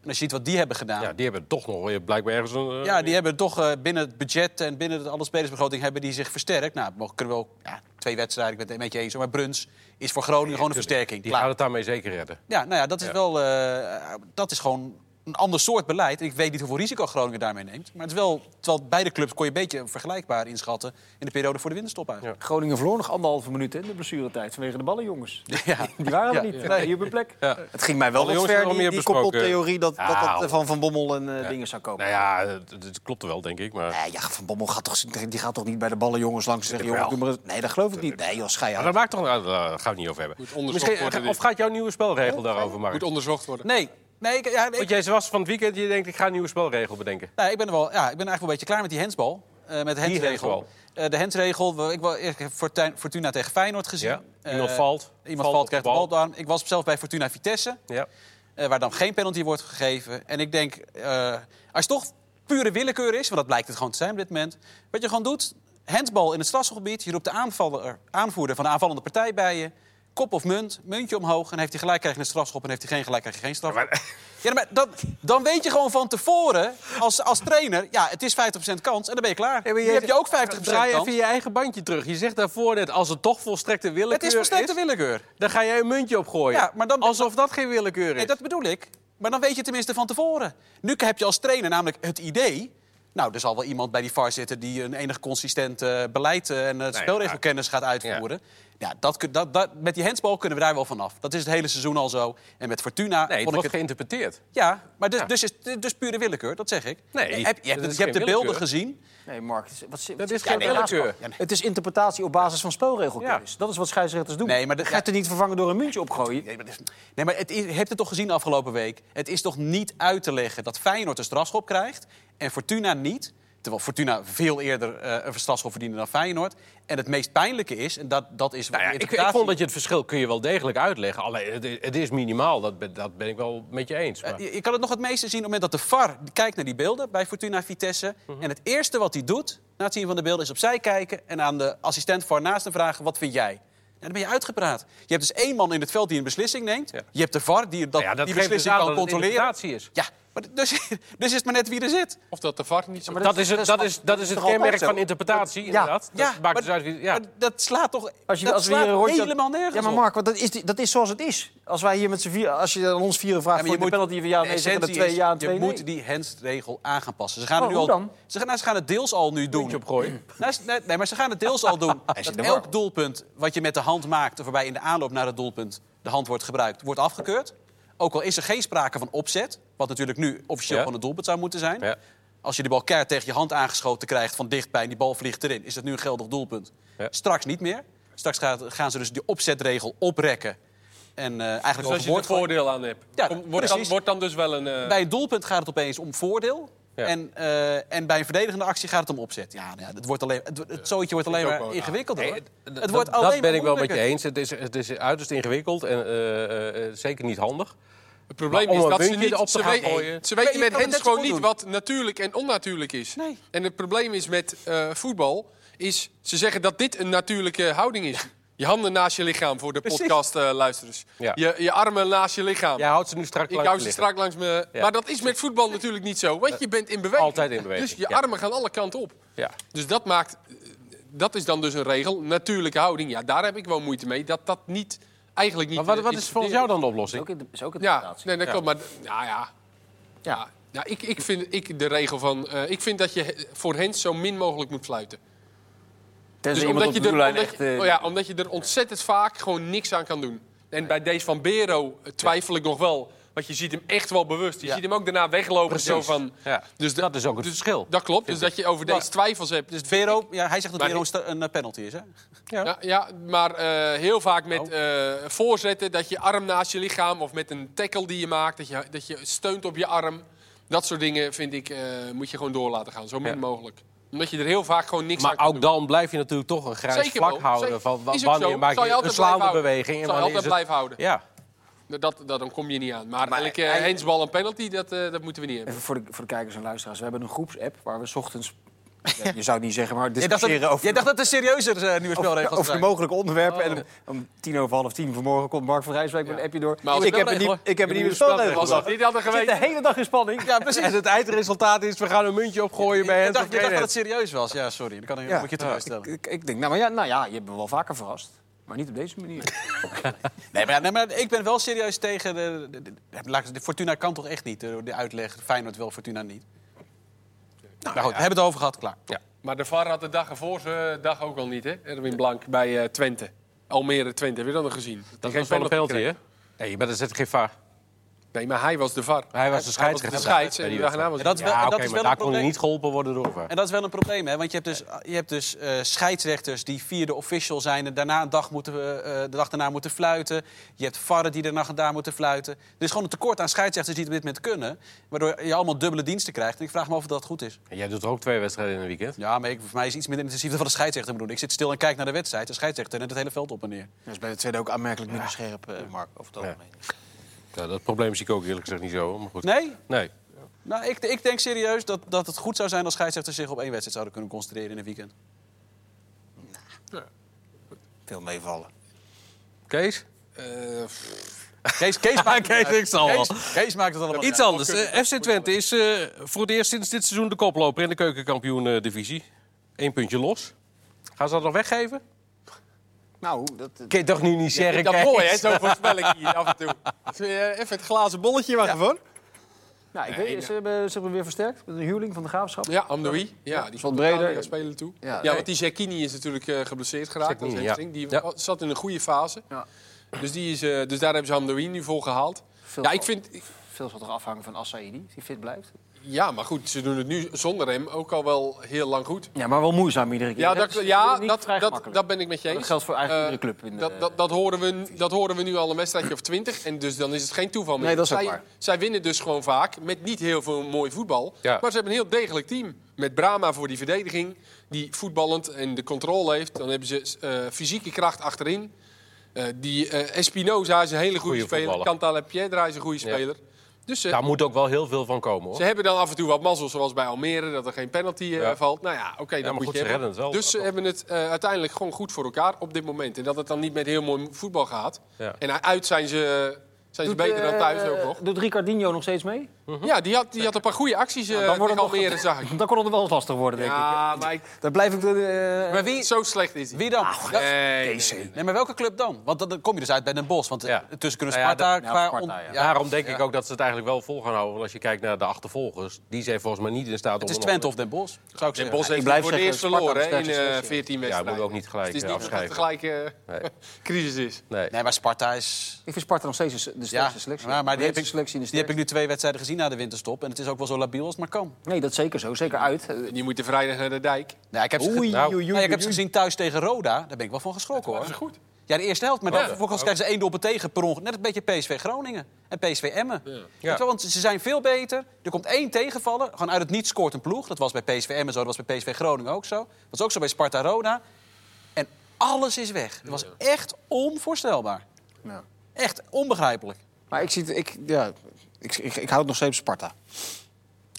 [SPEAKER 2] En als je ziet wat die hebben gedaan.
[SPEAKER 1] ja, die hebben toch nog weer blijkbaar ergens een... eh,
[SPEAKER 2] Ja, die hebben toch eh, binnen het budget en binnen de, alle spelersbegroting hebben die zich versterkt. Nou, we kunnen wel ja, twee wedstrijden, ik ben het een beetje eens. hoor, Maar Bruns is voor Groningen gewoon een versterking.
[SPEAKER 1] Die
[SPEAKER 2] Klaar.
[SPEAKER 1] gaat het daarmee zeker redden.
[SPEAKER 2] Ja, nou ja, dat is
[SPEAKER 1] Ja.
[SPEAKER 2] wel. eh, dat is gewoon een ander soort beleid. Ik weet niet hoeveel risico Groningen daarmee neemt. Maar het is wel. Terwijl beide clubs kon je een beetje vergelijkbaar inschatten in de periode voor de winterstop eigenlijk.
[SPEAKER 3] Groningen verloor nog anderhalve minuut hè, in de blessuretijd vanwege de ballen, jongens.
[SPEAKER 2] <laughs> Ja.
[SPEAKER 3] Die waren er
[SPEAKER 2] Ja.
[SPEAKER 3] niet.
[SPEAKER 2] Ja.
[SPEAKER 3] Nee, hier op hun plek.
[SPEAKER 1] Ja.
[SPEAKER 3] Het ging mij wel
[SPEAKER 1] Alle
[SPEAKER 3] wat
[SPEAKER 1] jongens
[SPEAKER 3] ver,
[SPEAKER 1] hebben
[SPEAKER 3] die,
[SPEAKER 1] meer
[SPEAKER 3] die
[SPEAKER 1] besproken.
[SPEAKER 3] koppeltheorie dat, dat,
[SPEAKER 1] Ah,
[SPEAKER 3] dat eh, van Van Bommel en eh, dingen zou komen.
[SPEAKER 1] Nou ja, het, het klopte wel, denk ik. Maar,
[SPEAKER 3] Nee, ja, Van Bommel gaat toch, die gaat toch niet bij de ballen jongens langs zeggen...
[SPEAKER 1] Jawel.
[SPEAKER 3] Joh, doe maar eens- nee, dat geloof ik niet. Nee, joh, schei
[SPEAKER 1] maar
[SPEAKER 3] uit.
[SPEAKER 1] dat maakt toch... nou, daar gaan we het niet over hebben.
[SPEAKER 4] Moet onderzocht
[SPEAKER 1] Misschien,
[SPEAKER 4] worden, dit.
[SPEAKER 1] of gaat jouw nieuwe spelregel daarover maken?
[SPEAKER 4] Moet onderzocht worden.
[SPEAKER 2] Nee, nee, ik, ja, ik,
[SPEAKER 1] Want jij was van het weekend, je denkt, ik ga een nieuwe spelregel bedenken.
[SPEAKER 2] Nou, ik ben er wel, ja, ik ben eigenlijk wel een beetje klaar met die hensbal. eh, met de
[SPEAKER 1] Die
[SPEAKER 2] hensregel.
[SPEAKER 1] hensbal.
[SPEAKER 2] Eh, de hensregel, wel- ik, wel- ik heb Fortuin- Fortuna tegen Feyenoord gezien.
[SPEAKER 1] Ja. Iemand
[SPEAKER 2] Eh,
[SPEAKER 1] valt.
[SPEAKER 2] Iemand valt,
[SPEAKER 1] op
[SPEAKER 2] krijgt de bal op de arm. Ik was zelf bij Fortuna Vitesse,
[SPEAKER 1] Ja.
[SPEAKER 2] eh, waar dan geen penalty wordt gegeven. En ik denk, eh, als het toch pure willekeur is, want dat blijkt het gewoon te zijn op dit moment. Wat je gewoon doet, hensbal in het strafschopgebied. Je roept de aanvaller, aanvoerder van de aanvallende partij bij je. Kop of munt, muntje omhoog. En heeft hij gelijk krijg je een strafschop en heeft hij geen gelijk krijg je geen strafschop. Ja, maar dan, dan weet je gewoon van tevoren, als, als trainer, ja, het is 50% kans en dan ben je klaar. Nu heb je ook 50%
[SPEAKER 1] Draai even
[SPEAKER 2] kans.
[SPEAKER 1] je eigen bandje terug. Je zegt daarvoor net, als het toch volstrekte willekeur
[SPEAKER 2] Het is volstrekte willekeur.
[SPEAKER 1] dan ga jij een muntje op gooien.
[SPEAKER 2] Ja, maar dan-
[SPEAKER 1] Alsof dat geen willekeur is.
[SPEAKER 2] Nee, dat bedoel ik. Maar dan weet je tenminste van tevoren. Nu heb je als trainer namelijk het idee, Nou, er zal wel iemand bij die VAR zitten die een enig consistent eh, beleid eh, en het
[SPEAKER 1] ja,
[SPEAKER 2] spelregelkennis gaat uitvoeren. Ja, dat, kun- dat, dat, met die handsbal kunnen we daar wel vanaf. Dat is het hele seizoen al zo. En met Fortuna
[SPEAKER 1] Nee, het
[SPEAKER 2] vond
[SPEAKER 1] wordt
[SPEAKER 2] ik het...
[SPEAKER 1] geïnterpreteerd.
[SPEAKER 2] Ja, maar dus, Dus, is, dus pure willekeur, dat zeg ik.
[SPEAKER 1] Nee,
[SPEAKER 2] je hebt, je hebt,
[SPEAKER 1] dat is
[SPEAKER 2] je hebt de
[SPEAKER 1] geen
[SPEAKER 2] beelden
[SPEAKER 1] willekeur.
[SPEAKER 2] gezien.
[SPEAKER 3] Nee, Mark, wat, zit-
[SPEAKER 1] Dat
[SPEAKER 3] wat
[SPEAKER 1] is
[SPEAKER 3] zit
[SPEAKER 1] geen
[SPEAKER 3] jij ernaast,
[SPEAKER 1] willekeur.
[SPEAKER 3] Mark? Het is interpretatie op basis van spelregelkennis. Dat is wat scheidsrechters doen.
[SPEAKER 2] Nee, maar de-
[SPEAKER 3] Ga je het er niet vervangen door een muntje opgooien.
[SPEAKER 2] Nee, maar, dit- nee, maar het is, je hebt het toch gezien de afgelopen week? Het is toch niet uit te leggen dat Feyenoord een strafschop krijgt en Fortuna niet? Terwijl Fortuna veel eerder eh, een strafschop verdiende dan Feyenoord. En het meest pijnlijke is, en dat, dat is wat
[SPEAKER 1] Nou ja, ik,
[SPEAKER 2] de
[SPEAKER 1] ik
[SPEAKER 2] interpretatie-
[SPEAKER 1] vond dat je het verschil kun je wel degelijk uitleggen. Alleen, het, het is minimaal, dat ben, dat ben ik wel met je eens. Maar...
[SPEAKER 2] Eh, je, je kan het nog het meeste zien op het moment dat de VAR kijkt naar die beelden bij Fortuna Vitesse.
[SPEAKER 1] Mhm.
[SPEAKER 2] En het eerste wat hij doet na het zien van de beelden is opzij kijken en aan de assistent VAR naast hem vragen: wat vind jij? Nou, dan ben je uitgepraat. Je hebt dus één man in het veld die een beslissing neemt.
[SPEAKER 1] Ja.
[SPEAKER 2] Je hebt de VAR die, dat,
[SPEAKER 1] Nou ja, dat
[SPEAKER 2] die
[SPEAKER 1] geeft dus
[SPEAKER 2] beslissing
[SPEAKER 1] aan
[SPEAKER 2] kan
[SPEAKER 1] dat het
[SPEAKER 2] controleren.
[SPEAKER 1] interpretatie is.
[SPEAKER 2] Ja, maar d- dus, <laughs> dus is het maar net wie er zit.
[SPEAKER 4] Of dat de VAR niet zo...
[SPEAKER 1] Dat is het, dat is, dat is het
[SPEAKER 3] toch altijd
[SPEAKER 1] kenmerk
[SPEAKER 3] zo?
[SPEAKER 1] van interpretatie, inderdaad. Dat
[SPEAKER 2] ja,
[SPEAKER 1] maakt
[SPEAKER 2] maar,
[SPEAKER 1] dus uit wie... Ja.
[SPEAKER 2] maar dat slaat toch
[SPEAKER 3] Als je,
[SPEAKER 2] dat
[SPEAKER 3] als we
[SPEAKER 2] slaat
[SPEAKER 3] hier een rondje-
[SPEAKER 2] helemaal nergens
[SPEAKER 3] Ja, maar
[SPEAKER 2] op.
[SPEAKER 3] Mark, want dat is, die- dat is zoals het is. Als wij hier met z'n vier, als je aan ons vieren vraagt
[SPEAKER 2] Ja,
[SPEAKER 3] voor
[SPEAKER 2] maar
[SPEAKER 3] de penalty van ja,
[SPEAKER 2] de
[SPEAKER 3] nee, zeggen dat
[SPEAKER 2] essentie
[SPEAKER 3] twee ja
[SPEAKER 2] is,
[SPEAKER 3] en
[SPEAKER 2] je
[SPEAKER 3] twee nee.
[SPEAKER 2] moet die handsregel aan gaan passen. Ze gaan,
[SPEAKER 3] Oh,
[SPEAKER 2] het nu
[SPEAKER 3] hoe
[SPEAKER 2] al,
[SPEAKER 3] dan?
[SPEAKER 2] Ze, gaan, nou, ze gaan het deels al nu doen.
[SPEAKER 1] opgooien.
[SPEAKER 2] Nou, ze- nee, nee, maar ze gaan het deels al
[SPEAKER 3] <laughs>
[SPEAKER 2] doen. dat elk doelpunt wat je met de hand maakt... of waarbij in de aanloop naar het doelpunt de hand wordt gebruikt... wordt afgekeurd. Ook al is er geen sprake van opzet... wat natuurlijk nu officieel
[SPEAKER 1] Ja.
[SPEAKER 2] van het doelpunt zou moeten zijn.
[SPEAKER 1] Ja.
[SPEAKER 2] Als je die bal keihard tegen je hand aangeschoten krijgt van dichtbij... en die bal vliegt erin, is dat nu een geldig doelpunt.
[SPEAKER 1] Ja.
[SPEAKER 2] Straks niet meer. Straks gaat- gaan ze dus die opzetregel oprekken. En eh eigenlijk
[SPEAKER 4] Zoals je er
[SPEAKER 2] overboord gooien.
[SPEAKER 4] voordeel aan hebt.
[SPEAKER 2] Ja,
[SPEAKER 4] Kom- wordt, dan,
[SPEAKER 2] precies.
[SPEAKER 4] wordt dan dus wel een... eh,
[SPEAKER 2] Bij een doelpunt gaat het opeens om voordeel.
[SPEAKER 1] Ja.
[SPEAKER 2] En, eh, en bij een verdedigende actie gaat het om opzet. Ja, nou ja het, wordt alleen, het, het zootje wordt alleen
[SPEAKER 4] ook
[SPEAKER 2] maar
[SPEAKER 4] wel raar.
[SPEAKER 2] ingewikkelder. hoor.
[SPEAKER 1] Dat-
[SPEAKER 2] het wordt
[SPEAKER 1] dat,
[SPEAKER 2] alleen
[SPEAKER 1] dat ben
[SPEAKER 2] maar
[SPEAKER 1] ik wel met je
[SPEAKER 2] moeilijker.
[SPEAKER 1] eens. Het is, het is uiterst ingewikkeld en eh, eh, eh, zeker niet handig.
[SPEAKER 4] Het probleem
[SPEAKER 1] Maar om
[SPEAKER 4] is
[SPEAKER 1] een
[SPEAKER 4] dat ze
[SPEAKER 1] muntje
[SPEAKER 4] niet...
[SPEAKER 1] erop te
[SPEAKER 4] Ze,
[SPEAKER 1] gaan
[SPEAKER 4] weet-
[SPEAKER 1] gooien.
[SPEAKER 4] ze
[SPEAKER 2] Maar
[SPEAKER 4] weten
[SPEAKER 2] je
[SPEAKER 4] met
[SPEAKER 2] kan het net
[SPEAKER 4] hens
[SPEAKER 2] zo
[SPEAKER 4] gewoon
[SPEAKER 2] goed
[SPEAKER 4] niet
[SPEAKER 2] doen.
[SPEAKER 4] wat natuurlijk en onnatuurlijk is.
[SPEAKER 2] Nee.
[SPEAKER 4] En het probleem is met eh, voetbal... is ze zeggen dat dit een natuurlijke houding is. Je handen naast je lichaam voor de
[SPEAKER 2] Precies.
[SPEAKER 4] podcastluisterers.
[SPEAKER 1] Ja.
[SPEAKER 4] je, je armen naast je lichaam.
[SPEAKER 1] Jij houdt ze nu strak
[SPEAKER 4] Ik
[SPEAKER 1] langs
[SPEAKER 4] hou
[SPEAKER 1] je
[SPEAKER 4] ze
[SPEAKER 1] liggen.
[SPEAKER 4] strak langs me.
[SPEAKER 1] Ja.
[SPEAKER 4] Maar dat is met voetbal natuurlijk niet zo. Want je bent in beweging.
[SPEAKER 1] Altijd in beweging,
[SPEAKER 4] Dus je
[SPEAKER 1] ja.
[SPEAKER 4] armen gaan alle kanten op.
[SPEAKER 1] Ja.
[SPEAKER 4] Dus dat maakt. Dat is dan dus een regel. Natuurlijke houding. Ja, daar heb ik wel moeite mee. Dat dat niet. Eigenlijk niet.
[SPEAKER 1] Maar wat,
[SPEAKER 4] eh,
[SPEAKER 1] wat is volgens jou dan de
[SPEAKER 3] Is
[SPEAKER 1] oplossing?
[SPEAKER 3] ook in- is ook een
[SPEAKER 4] Ja,
[SPEAKER 3] interpretatie.
[SPEAKER 4] nee, dat
[SPEAKER 1] Ja.
[SPEAKER 4] klopt. Maar nou ja. ja. Nou, ik, ik vind ik de regel van. eh, ik vind dat je he- voor hen zo min mogelijk moet fluiten.
[SPEAKER 3] Tenzij
[SPEAKER 4] Dus
[SPEAKER 3] iemand op
[SPEAKER 4] omdat
[SPEAKER 3] de
[SPEAKER 4] je, er,
[SPEAKER 3] doellijn
[SPEAKER 4] omdat,
[SPEAKER 3] echt...
[SPEAKER 4] je,
[SPEAKER 3] eh,
[SPEAKER 4] oh ja, omdat je er ontzettend vaak gewoon niks aan kan doen. En bij deze van Bero eh, twijfel ik nog wel. Want je ziet hem echt wel bewust. Je
[SPEAKER 1] Ja.
[SPEAKER 4] ziet hem ook daarna weglopen. Zo van,
[SPEAKER 1] Ja.
[SPEAKER 4] Dus de-
[SPEAKER 1] dat is ook het
[SPEAKER 4] dus
[SPEAKER 1] verschil.
[SPEAKER 4] Dat klopt. Dus dat je over deze twijfels hebt.
[SPEAKER 2] Dus Vero, ja, hij zegt dat
[SPEAKER 4] Maar
[SPEAKER 2] Vero
[SPEAKER 4] ik-
[SPEAKER 2] een sta- een eh, penalty is, hè?
[SPEAKER 4] Ja, ja, maar eh, heel vaak met
[SPEAKER 1] Nou.
[SPEAKER 4] eh, voorzetten dat je arm naast je lichaam of met een tackle die je maakt, dat je, dat je steunt op je arm. Dat soort dingen vind ik, eh, moet je gewoon door laten gaan, zo min
[SPEAKER 1] Ja.
[SPEAKER 4] mogelijk. Omdat je er heel vaak gewoon niks aan
[SPEAKER 1] Maar
[SPEAKER 4] kan
[SPEAKER 1] ook
[SPEAKER 4] doen.
[SPEAKER 1] dan blijf je natuurlijk toch een grijs
[SPEAKER 4] Zeker
[SPEAKER 1] vlak
[SPEAKER 4] wel,
[SPEAKER 1] houden.
[SPEAKER 4] zeker.
[SPEAKER 1] Van, wa-
[SPEAKER 4] Is ook
[SPEAKER 1] wanneer
[SPEAKER 4] zo.
[SPEAKER 1] maak
[SPEAKER 4] Zal je
[SPEAKER 1] je een
[SPEAKER 4] altijd
[SPEAKER 1] slaande
[SPEAKER 4] blijven houden.
[SPEAKER 1] beweging? En
[SPEAKER 4] Zal je
[SPEAKER 1] wanneer is
[SPEAKER 4] altijd blijven
[SPEAKER 1] het-
[SPEAKER 4] houden.
[SPEAKER 1] Ja.
[SPEAKER 4] Dat, dat, dan kom je niet aan. Maar,
[SPEAKER 3] Maar
[SPEAKER 4] elke
[SPEAKER 3] hij-
[SPEAKER 4] handsbal en penalty, dat, eh, dat moeten we niet hebben.
[SPEAKER 3] Even voor de, voor de kijkers en luisteraars. We hebben een groepsapp waar we 's
[SPEAKER 2] <laughs>
[SPEAKER 3] ochtends... Ja, je zou het niet zeggen, maar
[SPEAKER 2] Jij dacht, dat,
[SPEAKER 3] discussiëren over...
[SPEAKER 2] jij dacht dat er serieuzer eh, nieuwe spelregels
[SPEAKER 3] over de
[SPEAKER 2] zijn.
[SPEAKER 3] mogelijke onderwerpen. En om, om tien over half tien vanmorgen komt Mark van Rijswijk met een appje door.
[SPEAKER 4] Maar als
[SPEAKER 3] ik, heb een,
[SPEAKER 2] spelregel,
[SPEAKER 3] nieuw- ik heb een nieuwe
[SPEAKER 1] spelregel.
[SPEAKER 3] spelregel.
[SPEAKER 4] Als dat niet hadden
[SPEAKER 3] Ik zit
[SPEAKER 4] geweten.
[SPEAKER 3] de hele dag in spanning.
[SPEAKER 2] Ja, precies.
[SPEAKER 1] En het eindresultaat is, we gaan een muntje opgooien bij
[SPEAKER 2] je
[SPEAKER 1] hen.
[SPEAKER 2] dacht, je
[SPEAKER 1] of
[SPEAKER 2] dacht dat het
[SPEAKER 1] Feyenoord.
[SPEAKER 2] serieus was. Ja, sorry. Dan kan ik,
[SPEAKER 3] Ja.
[SPEAKER 2] moet ik je teleurstellen.
[SPEAKER 3] Ik, ik denk, nou, maar ja, nou ja, je hebt me wel vaker verrast. Maar niet op deze <laughs> manier.
[SPEAKER 2] Nee, maar, ja, nee, maar ik ben wel serieus tegen... De, de, de- laat ik- de Fortuna kan toch echt niet, de, de uitleg. Feyenoord wel, Fortuna niet. Nou, goed, we hebben het over gehad, klaar.
[SPEAKER 4] Maar de VAR had de dag ervoor zijn eh, dag ook al niet, hè? Erwin Blank bij eh, Twente. Almere Twente, heb je dat nog gezien?
[SPEAKER 1] Dat
[SPEAKER 4] Geen
[SPEAKER 1] was wel een penalty, hè?
[SPEAKER 4] kreeg.
[SPEAKER 1] Nee, maar dat zit geen vaar.
[SPEAKER 4] Nee, maar hij was de VAR.
[SPEAKER 1] Hij was de scheidsrechter.
[SPEAKER 4] De scheids en
[SPEAKER 1] Ja,
[SPEAKER 4] die
[SPEAKER 1] die
[SPEAKER 4] dag erna was
[SPEAKER 2] En dat is wel,
[SPEAKER 1] Ja,
[SPEAKER 2] en
[SPEAKER 1] oké,
[SPEAKER 2] dat is
[SPEAKER 1] maar
[SPEAKER 2] wel
[SPEAKER 1] daar
[SPEAKER 2] een
[SPEAKER 1] kon hij
[SPEAKER 2] probleem.
[SPEAKER 1] niet geholpen worden door VAR.
[SPEAKER 2] En dat is wel een probleem, hè? Want je hebt dus, je hebt dus eh, scheidsrechters die vierde official zijn en daarna een dag moeten, eh, eh, de dag daarna moeten fluiten. Je hebt varren die daarna daar moeten fluiten. Er is gewoon een tekort aan scheidsrechters die het op dit moment kunnen. Waardoor je allemaal dubbele diensten krijgt. En ik vraag me af of dat goed is.
[SPEAKER 1] En Jij doet er ook twee wedstrijden in een weekend.
[SPEAKER 2] Ja, maar ik, voor mij is iets minder intensief dan wat de scheidsrechter moet doen. Ik zit stil en kijk naar de wedstrijd. De scheidsrechter en het hele veld op en neer.
[SPEAKER 3] Dat is bij de tweede ook aanmerkelijk minder scherp, eh, Mark. Over het algemeen.
[SPEAKER 1] Ja, dat probleem zie ik ook eerlijk gezegd niet zo. Maar goed.
[SPEAKER 2] Nee?
[SPEAKER 1] Nee.
[SPEAKER 2] Nou, ik, ik denk serieus dat, dat het goed zou zijn als scheidsrechters zich op één wedstrijd zouden kunnen concentreren in een weekend.
[SPEAKER 3] Veel meevallen.
[SPEAKER 1] Kees?
[SPEAKER 4] Eh, pff,
[SPEAKER 2] Kees, Kees, maakt,
[SPEAKER 1] Kees, ik zal wel.
[SPEAKER 2] Kees, Kees maakt het allemaal
[SPEAKER 1] Iets
[SPEAKER 2] uit.
[SPEAKER 1] anders. Eh, FC Twente is eh, voor het eerst sinds dit seizoen de koploper in de keukenkampioen-divisie. Eén puntje los. Gaan ze dat nog weggeven?
[SPEAKER 3] Nou, dat,
[SPEAKER 1] Kun je toch nu niet zeggen, <laughs>
[SPEAKER 4] dat mooi, hè? Zo'n voorspelling hier af en toe. Dus, eh, Even het glazen bolletje maar gewoon.
[SPEAKER 3] Nou, ik weet, ze, hebben, ze hebben weer versterkt met een huurling van de graafschap.
[SPEAKER 4] Ja, Amdoui. Ja, die
[SPEAKER 3] is wat
[SPEAKER 4] komt
[SPEAKER 3] breder.
[SPEAKER 4] breder spelen toe.
[SPEAKER 3] Ja,
[SPEAKER 4] Ja,
[SPEAKER 3] nee.
[SPEAKER 4] want die Zerkini is natuurlijk eh, geblesseerd geraakt.
[SPEAKER 1] Zerkini,
[SPEAKER 4] als
[SPEAKER 1] ja.
[SPEAKER 4] hamstring. Die
[SPEAKER 1] Ja.
[SPEAKER 4] wa- zat in een goede fase.
[SPEAKER 3] Ja.
[SPEAKER 4] Dus, die is, eh, dus daar hebben ze Amdoui nu voor gehaald.
[SPEAKER 3] Veel
[SPEAKER 4] ja,
[SPEAKER 3] zal-
[SPEAKER 4] ik vind, ik-
[SPEAKER 3] Veel zal toch afhangen van Assaidi, die fit blijft.
[SPEAKER 4] ja, maar goed, ze doen het nu zonder hem ook al wel heel lang goed.
[SPEAKER 3] Ja, maar wel moeizaam iedere keer.
[SPEAKER 4] Ja,
[SPEAKER 3] Dat
[SPEAKER 4] dat,
[SPEAKER 3] is
[SPEAKER 4] ja,
[SPEAKER 3] niet
[SPEAKER 4] dat,
[SPEAKER 3] vrij
[SPEAKER 4] dat,
[SPEAKER 3] gemakkelijk.
[SPEAKER 4] dat ben ik met je eens.
[SPEAKER 3] Dat geldt voor eigenlijk
[SPEAKER 4] Eh,
[SPEAKER 3] iedere club in de-
[SPEAKER 4] dat, dat, dat, horen we, dat horen we nu al een wedstrijdje of twintig. En dus dan is het geen toeval meer.
[SPEAKER 3] Nee, dat is ook
[SPEAKER 4] zij,
[SPEAKER 3] waar.
[SPEAKER 4] zij winnen dus gewoon vaak met niet heel veel mooi voetbal.
[SPEAKER 1] Ja.
[SPEAKER 4] Maar ze hebben een heel degelijk team. Met Brahma voor die verdediging, die voetballend en de controle heeft. Dan hebben ze eh, fysieke kracht achterin. Eh, die eh, Espinoza is een hele goede,
[SPEAKER 1] Goeie
[SPEAKER 4] speler.
[SPEAKER 1] voetballer. Nou,
[SPEAKER 4] Cantale Piedra is een goede speler. Dus ze,
[SPEAKER 1] Daar moet ook wel heel veel van komen, hoor.
[SPEAKER 4] ze hebben dan af en toe wat mazzel, zoals bij Almere, dat er geen penalty eh,
[SPEAKER 1] Ja.
[SPEAKER 4] valt. Nou ja, oké, dan
[SPEAKER 1] maar
[SPEAKER 4] moet
[SPEAKER 1] goed,
[SPEAKER 4] je
[SPEAKER 1] ze
[SPEAKER 4] hebben.
[SPEAKER 1] redden het wel.
[SPEAKER 4] Dus ze
[SPEAKER 1] Dat-
[SPEAKER 4] hebben het eh, uiteindelijk gewoon goed voor elkaar op dit moment. En dat het dan niet met heel mooi voetbal gaat.
[SPEAKER 1] Ja.
[SPEAKER 4] En uit zijn ze, zijn ze beter dan thuis
[SPEAKER 3] eh,
[SPEAKER 4] ook nog.
[SPEAKER 3] Doet Ricardinho nog steeds mee?
[SPEAKER 4] Ja, die had, die had een paar goede acties eh
[SPEAKER 3] dan wordt
[SPEAKER 4] tegen
[SPEAKER 3] het nog-
[SPEAKER 4] Almere, zag
[SPEAKER 3] <laughs>
[SPEAKER 4] ik.
[SPEAKER 3] Dan kon het wel eens lastig worden, denk ik.
[SPEAKER 4] Ja, maar ik-
[SPEAKER 3] Daar blijf ik... eh,
[SPEAKER 2] Maar wie,
[SPEAKER 4] zo slecht is hij.
[SPEAKER 2] wie dan? Ja,
[SPEAKER 4] Nee, nee, nee.
[SPEAKER 2] Nee, maar welke club dan? Want dan dan kom je dus uit bij Den Bosch. Want
[SPEAKER 1] Ja.
[SPEAKER 2] eh, tussen kunnen
[SPEAKER 1] Nou ja,
[SPEAKER 2] Sparta...
[SPEAKER 3] dat-
[SPEAKER 2] qua
[SPEAKER 3] ja, Sparta,
[SPEAKER 2] on-
[SPEAKER 3] ja.
[SPEAKER 2] ja.
[SPEAKER 1] Daarom denk ik ook dat ze het eigenlijk wel vol gaan houden. Want als je kijkt naar de achtervolgers, die zijn volgens mij niet in staat om...
[SPEAKER 2] Het is
[SPEAKER 1] een
[SPEAKER 2] Twente of Den Bosch, zou ik
[SPEAKER 4] Den
[SPEAKER 2] zeggen.
[SPEAKER 4] Bos heeft
[SPEAKER 3] blijf
[SPEAKER 4] voor het
[SPEAKER 3] zeggen,
[SPEAKER 4] eerst
[SPEAKER 3] Sparta
[SPEAKER 4] verloren hè,
[SPEAKER 3] is
[SPEAKER 4] in eh,
[SPEAKER 3] 13e
[SPEAKER 4] 14 wedstrijden.
[SPEAKER 1] Ja, moet ook niet gelijk
[SPEAKER 4] Het is
[SPEAKER 1] eh,
[SPEAKER 4] niet dat het
[SPEAKER 1] afschrijven.
[SPEAKER 4] gelijk eh,
[SPEAKER 1] Nee.
[SPEAKER 4] <laughs> crisis is.
[SPEAKER 1] Nee.
[SPEAKER 2] Nee, maar Sparta is...
[SPEAKER 3] Ik vind Sparta nog steeds de sterkste
[SPEAKER 2] Ja,
[SPEAKER 3] selectie.
[SPEAKER 2] maar, maar die, heb
[SPEAKER 3] Breedste
[SPEAKER 2] ik,
[SPEAKER 3] selectie in de
[SPEAKER 2] die heb
[SPEAKER 3] sterkste.
[SPEAKER 2] ik nu twee wedstrijden gezien na de winterstop. En het is ook wel zo labiel als het maar kan.
[SPEAKER 3] Nee, dat zeker zo. Zeker uit. Eh,
[SPEAKER 4] En die moeten vrijdag naar de dijk.
[SPEAKER 2] Nee, ik heb ze, ge-
[SPEAKER 3] Oei,
[SPEAKER 2] Nou,
[SPEAKER 3] oei, oei,
[SPEAKER 2] nee, ik heb ze
[SPEAKER 3] oei.
[SPEAKER 2] gezien thuis tegen Roda. Daar ben ik wel van geschrokken, hoor.
[SPEAKER 4] goed.
[SPEAKER 2] Ja, de eerste helft. Maar dan
[SPEAKER 4] Ja.
[SPEAKER 2] vervolgens krijgen ze één doelpunt tegen per ongeluk. Net een beetje PSV Groningen en PSV Emmen. Weet je
[SPEAKER 1] Ja.
[SPEAKER 2] wel, Want ze zijn veel beter. Er komt één tegenvaller. Gewoon uit het niet scoort een ploeg. Dat was bij PSV Emmen zo. Dat was bij PSV Groningen ook zo. Dat was ook zo bij Sparta Roda. En alles is weg. Het was echt onvoorstelbaar.
[SPEAKER 3] Ja.
[SPEAKER 2] Echt onbegrijpelijk.
[SPEAKER 3] Maar ik, zie het, ik, ja, ik, ik, ik houd nog steeds van Sparta.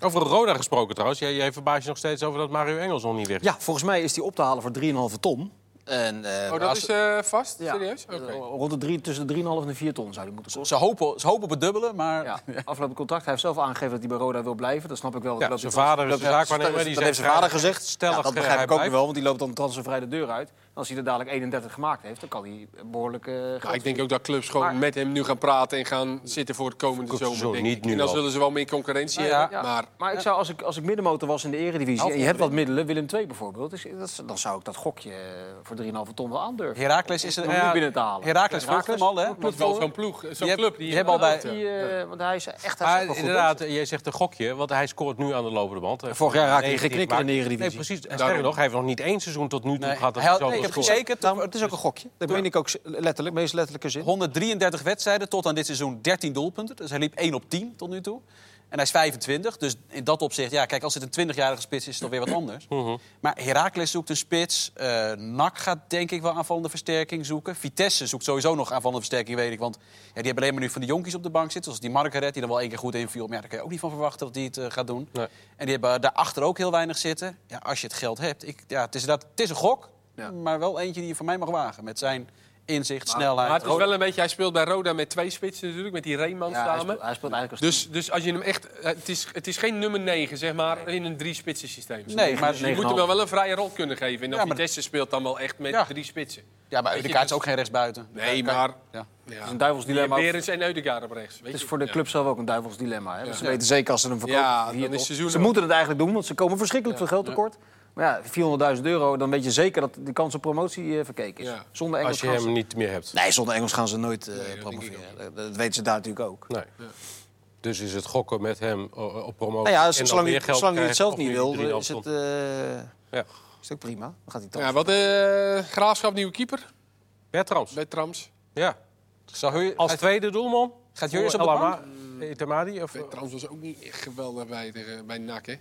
[SPEAKER 1] Over Roda gesproken trouwens. Jij, jij verbaast je nog steeds over dat Mario Engels nog niet weg is.
[SPEAKER 3] Ja, volgens mij is die op te halen voor 3,5 ton. En, eh,
[SPEAKER 4] Oh, dat
[SPEAKER 3] als-
[SPEAKER 4] is eh, vast?
[SPEAKER 3] ja,
[SPEAKER 4] Serieus? Oké.
[SPEAKER 3] eh, Rond de drie, tussen de 3,5 en de 4 ton zou die moeten kosten.
[SPEAKER 2] Ze hopen, ze hopen op het dubbele,
[SPEAKER 3] <laughs>
[SPEAKER 2] maar...
[SPEAKER 3] Ja, afgelopen contract. Hij heeft zelf aangegeven dat hij bij Roda wil blijven. Dat snap ik wel.
[SPEAKER 1] Ja, zijn vader is de zaakwaarnemer. Die
[SPEAKER 3] dat heeft zijn
[SPEAKER 1] zegt
[SPEAKER 3] vader
[SPEAKER 1] graag-
[SPEAKER 3] gezegd.
[SPEAKER 1] stellig,
[SPEAKER 3] Ja, dat
[SPEAKER 1] eh,
[SPEAKER 3] begrijp
[SPEAKER 1] hij
[SPEAKER 3] ik ook
[SPEAKER 1] blijft.
[SPEAKER 3] wel, want die loopt dan transfervrij de deur uit. En als hij er dadelijk 31 gemaakt heeft, dan kan hij behoorlijk eh geld
[SPEAKER 4] Nou, ik denk ook dat clubs gewoon
[SPEAKER 3] Maar-
[SPEAKER 4] met hem nu gaan praten en gaan zitten voor het komende
[SPEAKER 1] Goed,
[SPEAKER 4] zomer.
[SPEAKER 1] zo,
[SPEAKER 4] denk
[SPEAKER 1] niet
[SPEAKER 4] ik.
[SPEAKER 1] nu
[SPEAKER 4] en dan
[SPEAKER 1] al.
[SPEAKER 4] zullen ze wel meer concurrentie
[SPEAKER 2] Nou ja,
[SPEAKER 4] hebben.
[SPEAKER 3] Ja,
[SPEAKER 4] Maar
[SPEAKER 3] maar ik zou, als, ik, als ik middenmotor was in de eredivisie
[SPEAKER 2] Nou,
[SPEAKER 3] en je hebt wat middelen, Willem II bijvoorbeeld, dus dat, is- dan zou ik dat gokje eh, voor 3,5 ton wel aandurven.
[SPEAKER 2] Heracles is er...
[SPEAKER 3] Om die binnen te halen.
[SPEAKER 2] Heracles volgt hem al, hè?
[SPEAKER 4] het is wel zo'n ploeg, zo'n
[SPEAKER 2] hebt-
[SPEAKER 4] club. Die
[SPEAKER 2] je hebt al bij-
[SPEAKER 4] Ja.
[SPEAKER 3] Die, eh, want hij is echt
[SPEAKER 1] Maar
[SPEAKER 3] hartstikke goed.
[SPEAKER 1] inderdaad, jij zegt een gokje, want hij scoort nu aan de lopende band.
[SPEAKER 3] Vorig jaar raakte hij
[SPEAKER 1] Nee,
[SPEAKER 3] geknikkerd
[SPEAKER 1] maar-
[SPEAKER 3] in de Eredivisie.
[SPEAKER 1] Nee, precies. En sterker nog, hij heeft nog niet één seizoen tot nu toe
[SPEAKER 2] Nee,
[SPEAKER 1] gehad dat
[SPEAKER 2] hij
[SPEAKER 1] hij
[SPEAKER 2] had-
[SPEAKER 1] zo
[SPEAKER 2] nee, ik
[SPEAKER 1] veel
[SPEAKER 2] heb
[SPEAKER 1] scoort.
[SPEAKER 2] gekeken.
[SPEAKER 3] hoor. Nou, het is ook een gokje. Dat meen ik ook z- letterlijk, meest letterlijke zin.
[SPEAKER 2] 133 wedstrijden, tot aan dit seizoen 13 doelpunten. Dus hij liep 1 op 10 tot nu toe. En hij is 25, dus in dat opzicht... Ja, kijk, als het een 20-jarige spits is, is het toch
[SPEAKER 3] <clears throat>
[SPEAKER 2] weer wat anders.
[SPEAKER 3] Mhm.
[SPEAKER 2] Maar Heracles zoekt een spits. eh NAC gaat denk ik wel aanvallende versterking zoeken. Vitesse zoekt sowieso nog aanvallende versterking, weet ik. Want ja, die hebben alleen maar nu van die jonkies op de bank zitten. Zoals die Margaret, die dan wel één keer goed inviel. Maar ja, daar kan je ook niet van verwachten dat die het eh, gaat doen.
[SPEAKER 1] Nee.
[SPEAKER 2] En die hebben daarachter ook heel weinig zitten. Ja, als je het geld hebt. Ik, ja, het, is inderdaad, het is een gok,
[SPEAKER 3] Ja.
[SPEAKER 2] maar wel eentje die je van mij mag wagen. Met zijn inzicht, snelheid. Oh,
[SPEAKER 4] Maar het is wel een beetje, hij speelt bij Roda met twee spitsen natuurlijk, met die Reeman
[SPEAKER 3] Ja, hij,
[SPEAKER 4] samen.
[SPEAKER 3] speelt, hij speelt eigenlijk als
[SPEAKER 4] Dus, dus als je hem echt, het is, het is geen nummer 9, zeg maar, in een drie-spitsen systeem.
[SPEAKER 2] Nee, maar,
[SPEAKER 4] je moet hem wel wel een vrije rol kunnen geven. En dan
[SPEAKER 2] Ja, maar-
[SPEAKER 4] Vitesse speelt dan wel echt met
[SPEAKER 2] Ja.
[SPEAKER 4] drie spitsen.
[SPEAKER 2] ja, maar Udegaard is ook geen rechtsbuiten.
[SPEAKER 4] Nee,
[SPEAKER 2] Ja, kan-
[SPEAKER 4] maar...
[SPEAKER 2] Ja.
[SPEAKER 4] Ja.
[SPEAKER 3] is een duivels dilemma.
[SPEAKER 4] Berens en Eudegaard op rechts. Weet
[SPEAKER 3] Het is
[SPEAKER 4] je?
[SPEAKER 3] voor de
[SPEAKER 4] Ja.
[SPEAKER 3] club zelf ook een duivels dilemma. Hè? Want Ze
[SPEAKER 4] Ja.
[SPEAKER 3] weten zeker als ze hem verkopen.
[SPEAKER 4] Ja,
[SPEAKER 3] hier
[SPEAKER 4] dan is
[SPEAKER 3] toch-
[SPEAKER 4] seizoen
[SPEAKER 3] ze
[SPEAKER 4] op.
[SPEAKER 3] moeten het eigenlijk doen, want ze komen verschrikkelijk veel geld tekort. Maar ja, 400.000 euro, dan weet je zeker dat de kans op promotie eh, verkeken is.
[SPEAKER 4] Ja.
[SPEAKER 3] Zonder Engels
[SPEAKER 1] Als je
[SPEAKER 3] gaan ze-
[SPEAKER 1] hem niet meer hebt.
[SPEAKER 3] Nee, zonder Engels gaan ze nooit eh,
[SPEAKER 4] denk ik
[SPEAKER 3] promoveren. Dat, dat weten ze daar natuurlijk ook.
[SPEAKER 1] Nee. Dus is het gokken met hem eh, op promotie.
[SPEAKER 3] Nou ja,
[SPEAKER 1] en dan
[SPEAKER 3] zolang
[SPEAKER 1] meer
[SPEAKER 3] hij,
[SPEAKER 1] geld
[SPEAKER 3] zolang hij het
[SPEAKER 1] krijgt
[SPEAKER 3] zelf
[SPEAKER 1] of
[SPEAKER 3] niet
[SPEAKER 1] die
[SPEAKER 3] wil,
[SPEAKER 1] 3,5
[SPEAKER 3] is het
[SPEAKER 1] ton.
[SPEAKER 3] eh,
[SPEAKER 1] Ja.
[SPEAKER 3] is het ook prima. Dan gaat hij toch.
[SPEAKER 4] Ja, wat eh graafschap nieuwe keeper
[SPEAKER 1] Bertrams.
[SPEAKER 4] bij Trams.
[SPEAKER 1] Ja.
[SPEAKER 2] Zou Heur-
[SPEAKER 1] Als tweede doelman.
[SPEAKER 2] Gaat Jurjes op de
[SPEAKER 1] Elama- eh, Itamadi? Of,
[SPEAKER 4] Trams was ook niet echt geweldig bij, de, eh, bij NAC, hè?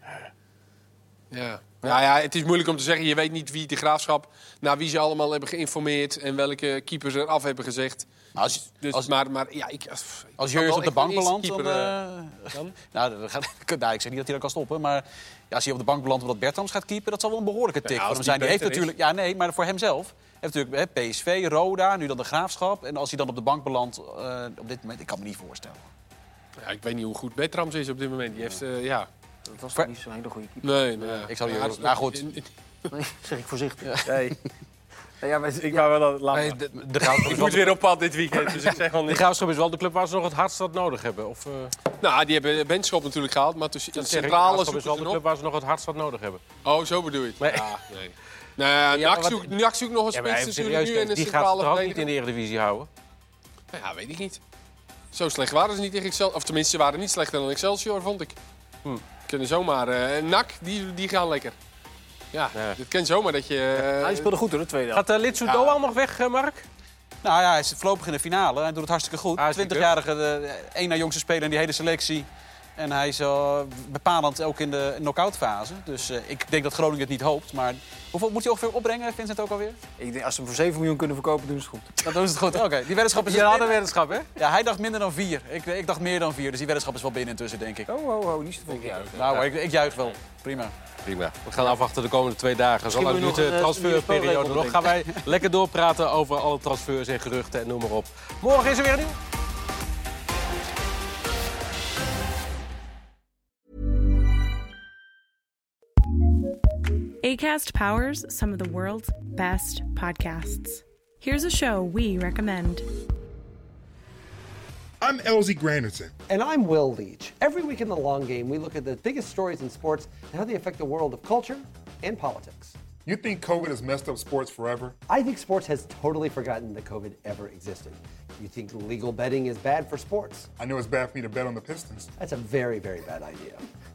[SPEAKER 4] Ja. Nou ja, het is moeilijk om te zeggen. Je weet niet wie de graafschap, naar wie ze allemaal hebben geïnformeerd en welke keepers er af hebben gezegd.
[SPEAKER 2] Nou, als,
[SPEAKER 4] Dus,
[SPEAKER 2] als,
[SPEAKER 4] maar, maar ja, ik. Als
[SPEAKER 2] als Jurjes op de bank belandt, dan... eh,
[SPEAKER 4] dan?
[SPEAKER 2] <laughs> Nou, dat gaat- <laughs> nou, ik zeg niet dat hij dan kan stoppen, maar ja, als hij op de bank belandt omdat Bertrams gaat keepen, dat zal wel een behoorlijke tik voor
[SPEAKER 4] als
[SPEAKER 2] hem
[SPEAKER 4] die
[SPEAKER 2] zijn. Die heeft
[SPEAKER 4] beter
[SPEAKER 2] natuurlijk, ja, nee, maar voor hemzelf. Hij Heeft natuurlijk hè, PSV, Roda, nu dan de Graafschap. En als hij dan op de bank belandt, eh, op dit moment, ik kan me niet voorstellen.
[SPEAKER 4] eh, Ja, ik weet niet hoe goed Bertrams is op dit moment. Die heeft, eh, ja.
[SPEAKER 3] Dat was toch niet zo'n hele goede keeper.
[SPEAKER 4] Nee, nee.
[SPEAKER 2] ik zal die-
[SPEAKER 4] Maar-
[SPEAKER 2] nou, goed.
[SPEAKER 4] in- in-
[SPEAKER 3] <laughs> Nee, zeg ik voorzichtig.
[SPEAKER 2] Nee.
[SPEAKER 3] Ja, maar,
[SPEAKER 5] Ik wou wel dat laten.
[SPEAKER 1] Nee, de, de Graafschap is
[SPEAKER 4] Ik
[SPEAKER 1] wel <laughs>
[SPEAKER 4] moet
[SPEAKER 1] de-
[SPEAKER 4] weer op pad dit weekend, dus ik zeg al
[SPEAKER 1] de
[SPEAKER 4] niet.
[SPEAKER 1] Graafschap is wel de club waar ze nog het hardst dat nodig hebben. Of, eh,
[SPEAKER 4] <laughs> Nou, die hebben Benschop natuurlijk gehaald, maar tussen in
[SPEAKER 1] zeg ik, de
[SPEAKER 4] centrale
[SPEAKER 1] Graafschap
[SPEAKER 4] zoeken
[SPEAKER 1] is wel
[SPEAKER 4] ze
[SPEAKER 1] de
[SPEAKER 4] nog.
[SPEAKER 1] club waar ze nog het hardst wat nodig hebben.
[SPEAKER 4] Oh, zo bedoel je het?
[SPEAKER 1] Nee.
[SPEAKER 4] Ja, nee. Nou,
[SPEAKER 1] Ja,
[SPEAKER 4] ja,
[SPEAKER 1] maar
[SPEAKER 4] NAC
[SPEAKER 1] wat-
[SPEAKER 4] zoekt, NAC zoekt nog een
[SPEAKER 1] Ja, maar
[SPEAKER 4] spits
[SPEAKER 1] even
[SPEAKER 4] natuurlijk
[SPEAKER 1] serieus,
[SPEAKER 4] nu en een
[SPEAKER 1] die gaat
[SPEAKER 4] centrale
[SPEAKER 1] toch ook niet in
[SPEAKER 4] verdediger.
[SPEAKER 1] de Eredivisie houden?
[SPEAKER 4] Nou Ja, weet ik niet. Zo slecht waren ze niet tegen Excelsior. Of tenminste, ze waren niet slechter dan Excelsior, vond ik.
[SPEAKER 1] Hm.
[SPEAKER 4] Kunnen zomaar... eh NAC, die, die gaan lekker. Ja,
[SPEAKER 1] Ja.
[SPEAKER 4] het kan zomaar dat je... eh,
[SPEAKER 5] Hij speelde goed hoor, de tweede helft.
[SPEAKER 1] Gaat uh, Litsu Doan nog weg, eh, Mark?
[SPEAKER 2] Nou ja, hij is voorlopig in de finale en doet het hartstikke goed.
[SPEAKER 1] Hartstikke.
[SPEAKER 2] 20-jarige, de één na jongste speler in die hele selectie. En hij is eh, bepalend ook in de knock-out fase. Dus eh, ik denk dat Groningen het niet hoopt. Maar hoeveel moet hij ongeveer opbrengen, Vincent ook alweer?
[SPEAKER 3] ik denk, als ze hem voor 7 miljoen kunnen verkopen, doen ze het goed.
[SPEAKER 2] Dat doen ze het goed. Oké, die weddenschap is
[SPEAKER 1] Je
[SPEAKER 2] dus
[SPEAKER 1] had een
[SPEAKER 2] binnen.
[SPEAKER 1] weddenschap, hè?
[SPEAKER 2] Ja, hij dacht minder dan vier. Ik, ik dacht meer dan vier, dus die weddenschap is wel binnen intussen, denk ik.
[SPEAKER 3] Oh, oh, oh, niet zo veel.
[SPEAKER 2] Nou, ik, ik juich wel. Prima.
[SPEAKER 1] Prima. We gaan afwachten de komende twee dagen. Zolang duurt
[SPEAKER 3] moet je
[SPEAKER 1] de
[SPEAKER 3] nog een, eh,
[SPEAKER 1] transferperiode
[SPEAKER 3] nieuwe
[SPEAKER 1] nog. Gaan wij lekker doorpraten over alle transfers en geruchten en noem maar op. Morgen is er weer een nieuw.
[SPEAKER 6] ACAST powers some of the world's best podcasts. Here's a show we recommend.
[SPEAKER 7] I'm Elsie Granderson.
[SPEAKER 8] And I'm Will Leach. Every week in the long game, we look at the biggest stories in sports and how they affect the world of culture and politics.
[SPEAKER 7] You think COVID has messed up sports forever?
[SPEAKER 8] I think sports has totally forgotten that COVID ever existed. You think legal betting is bad for sports?
[SPEAKER 7] I know it's bad for me to bet on the Pistons.
[SPEAKER 8] That's a very, very bad idea.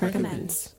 [SPEAKER 6] recommends.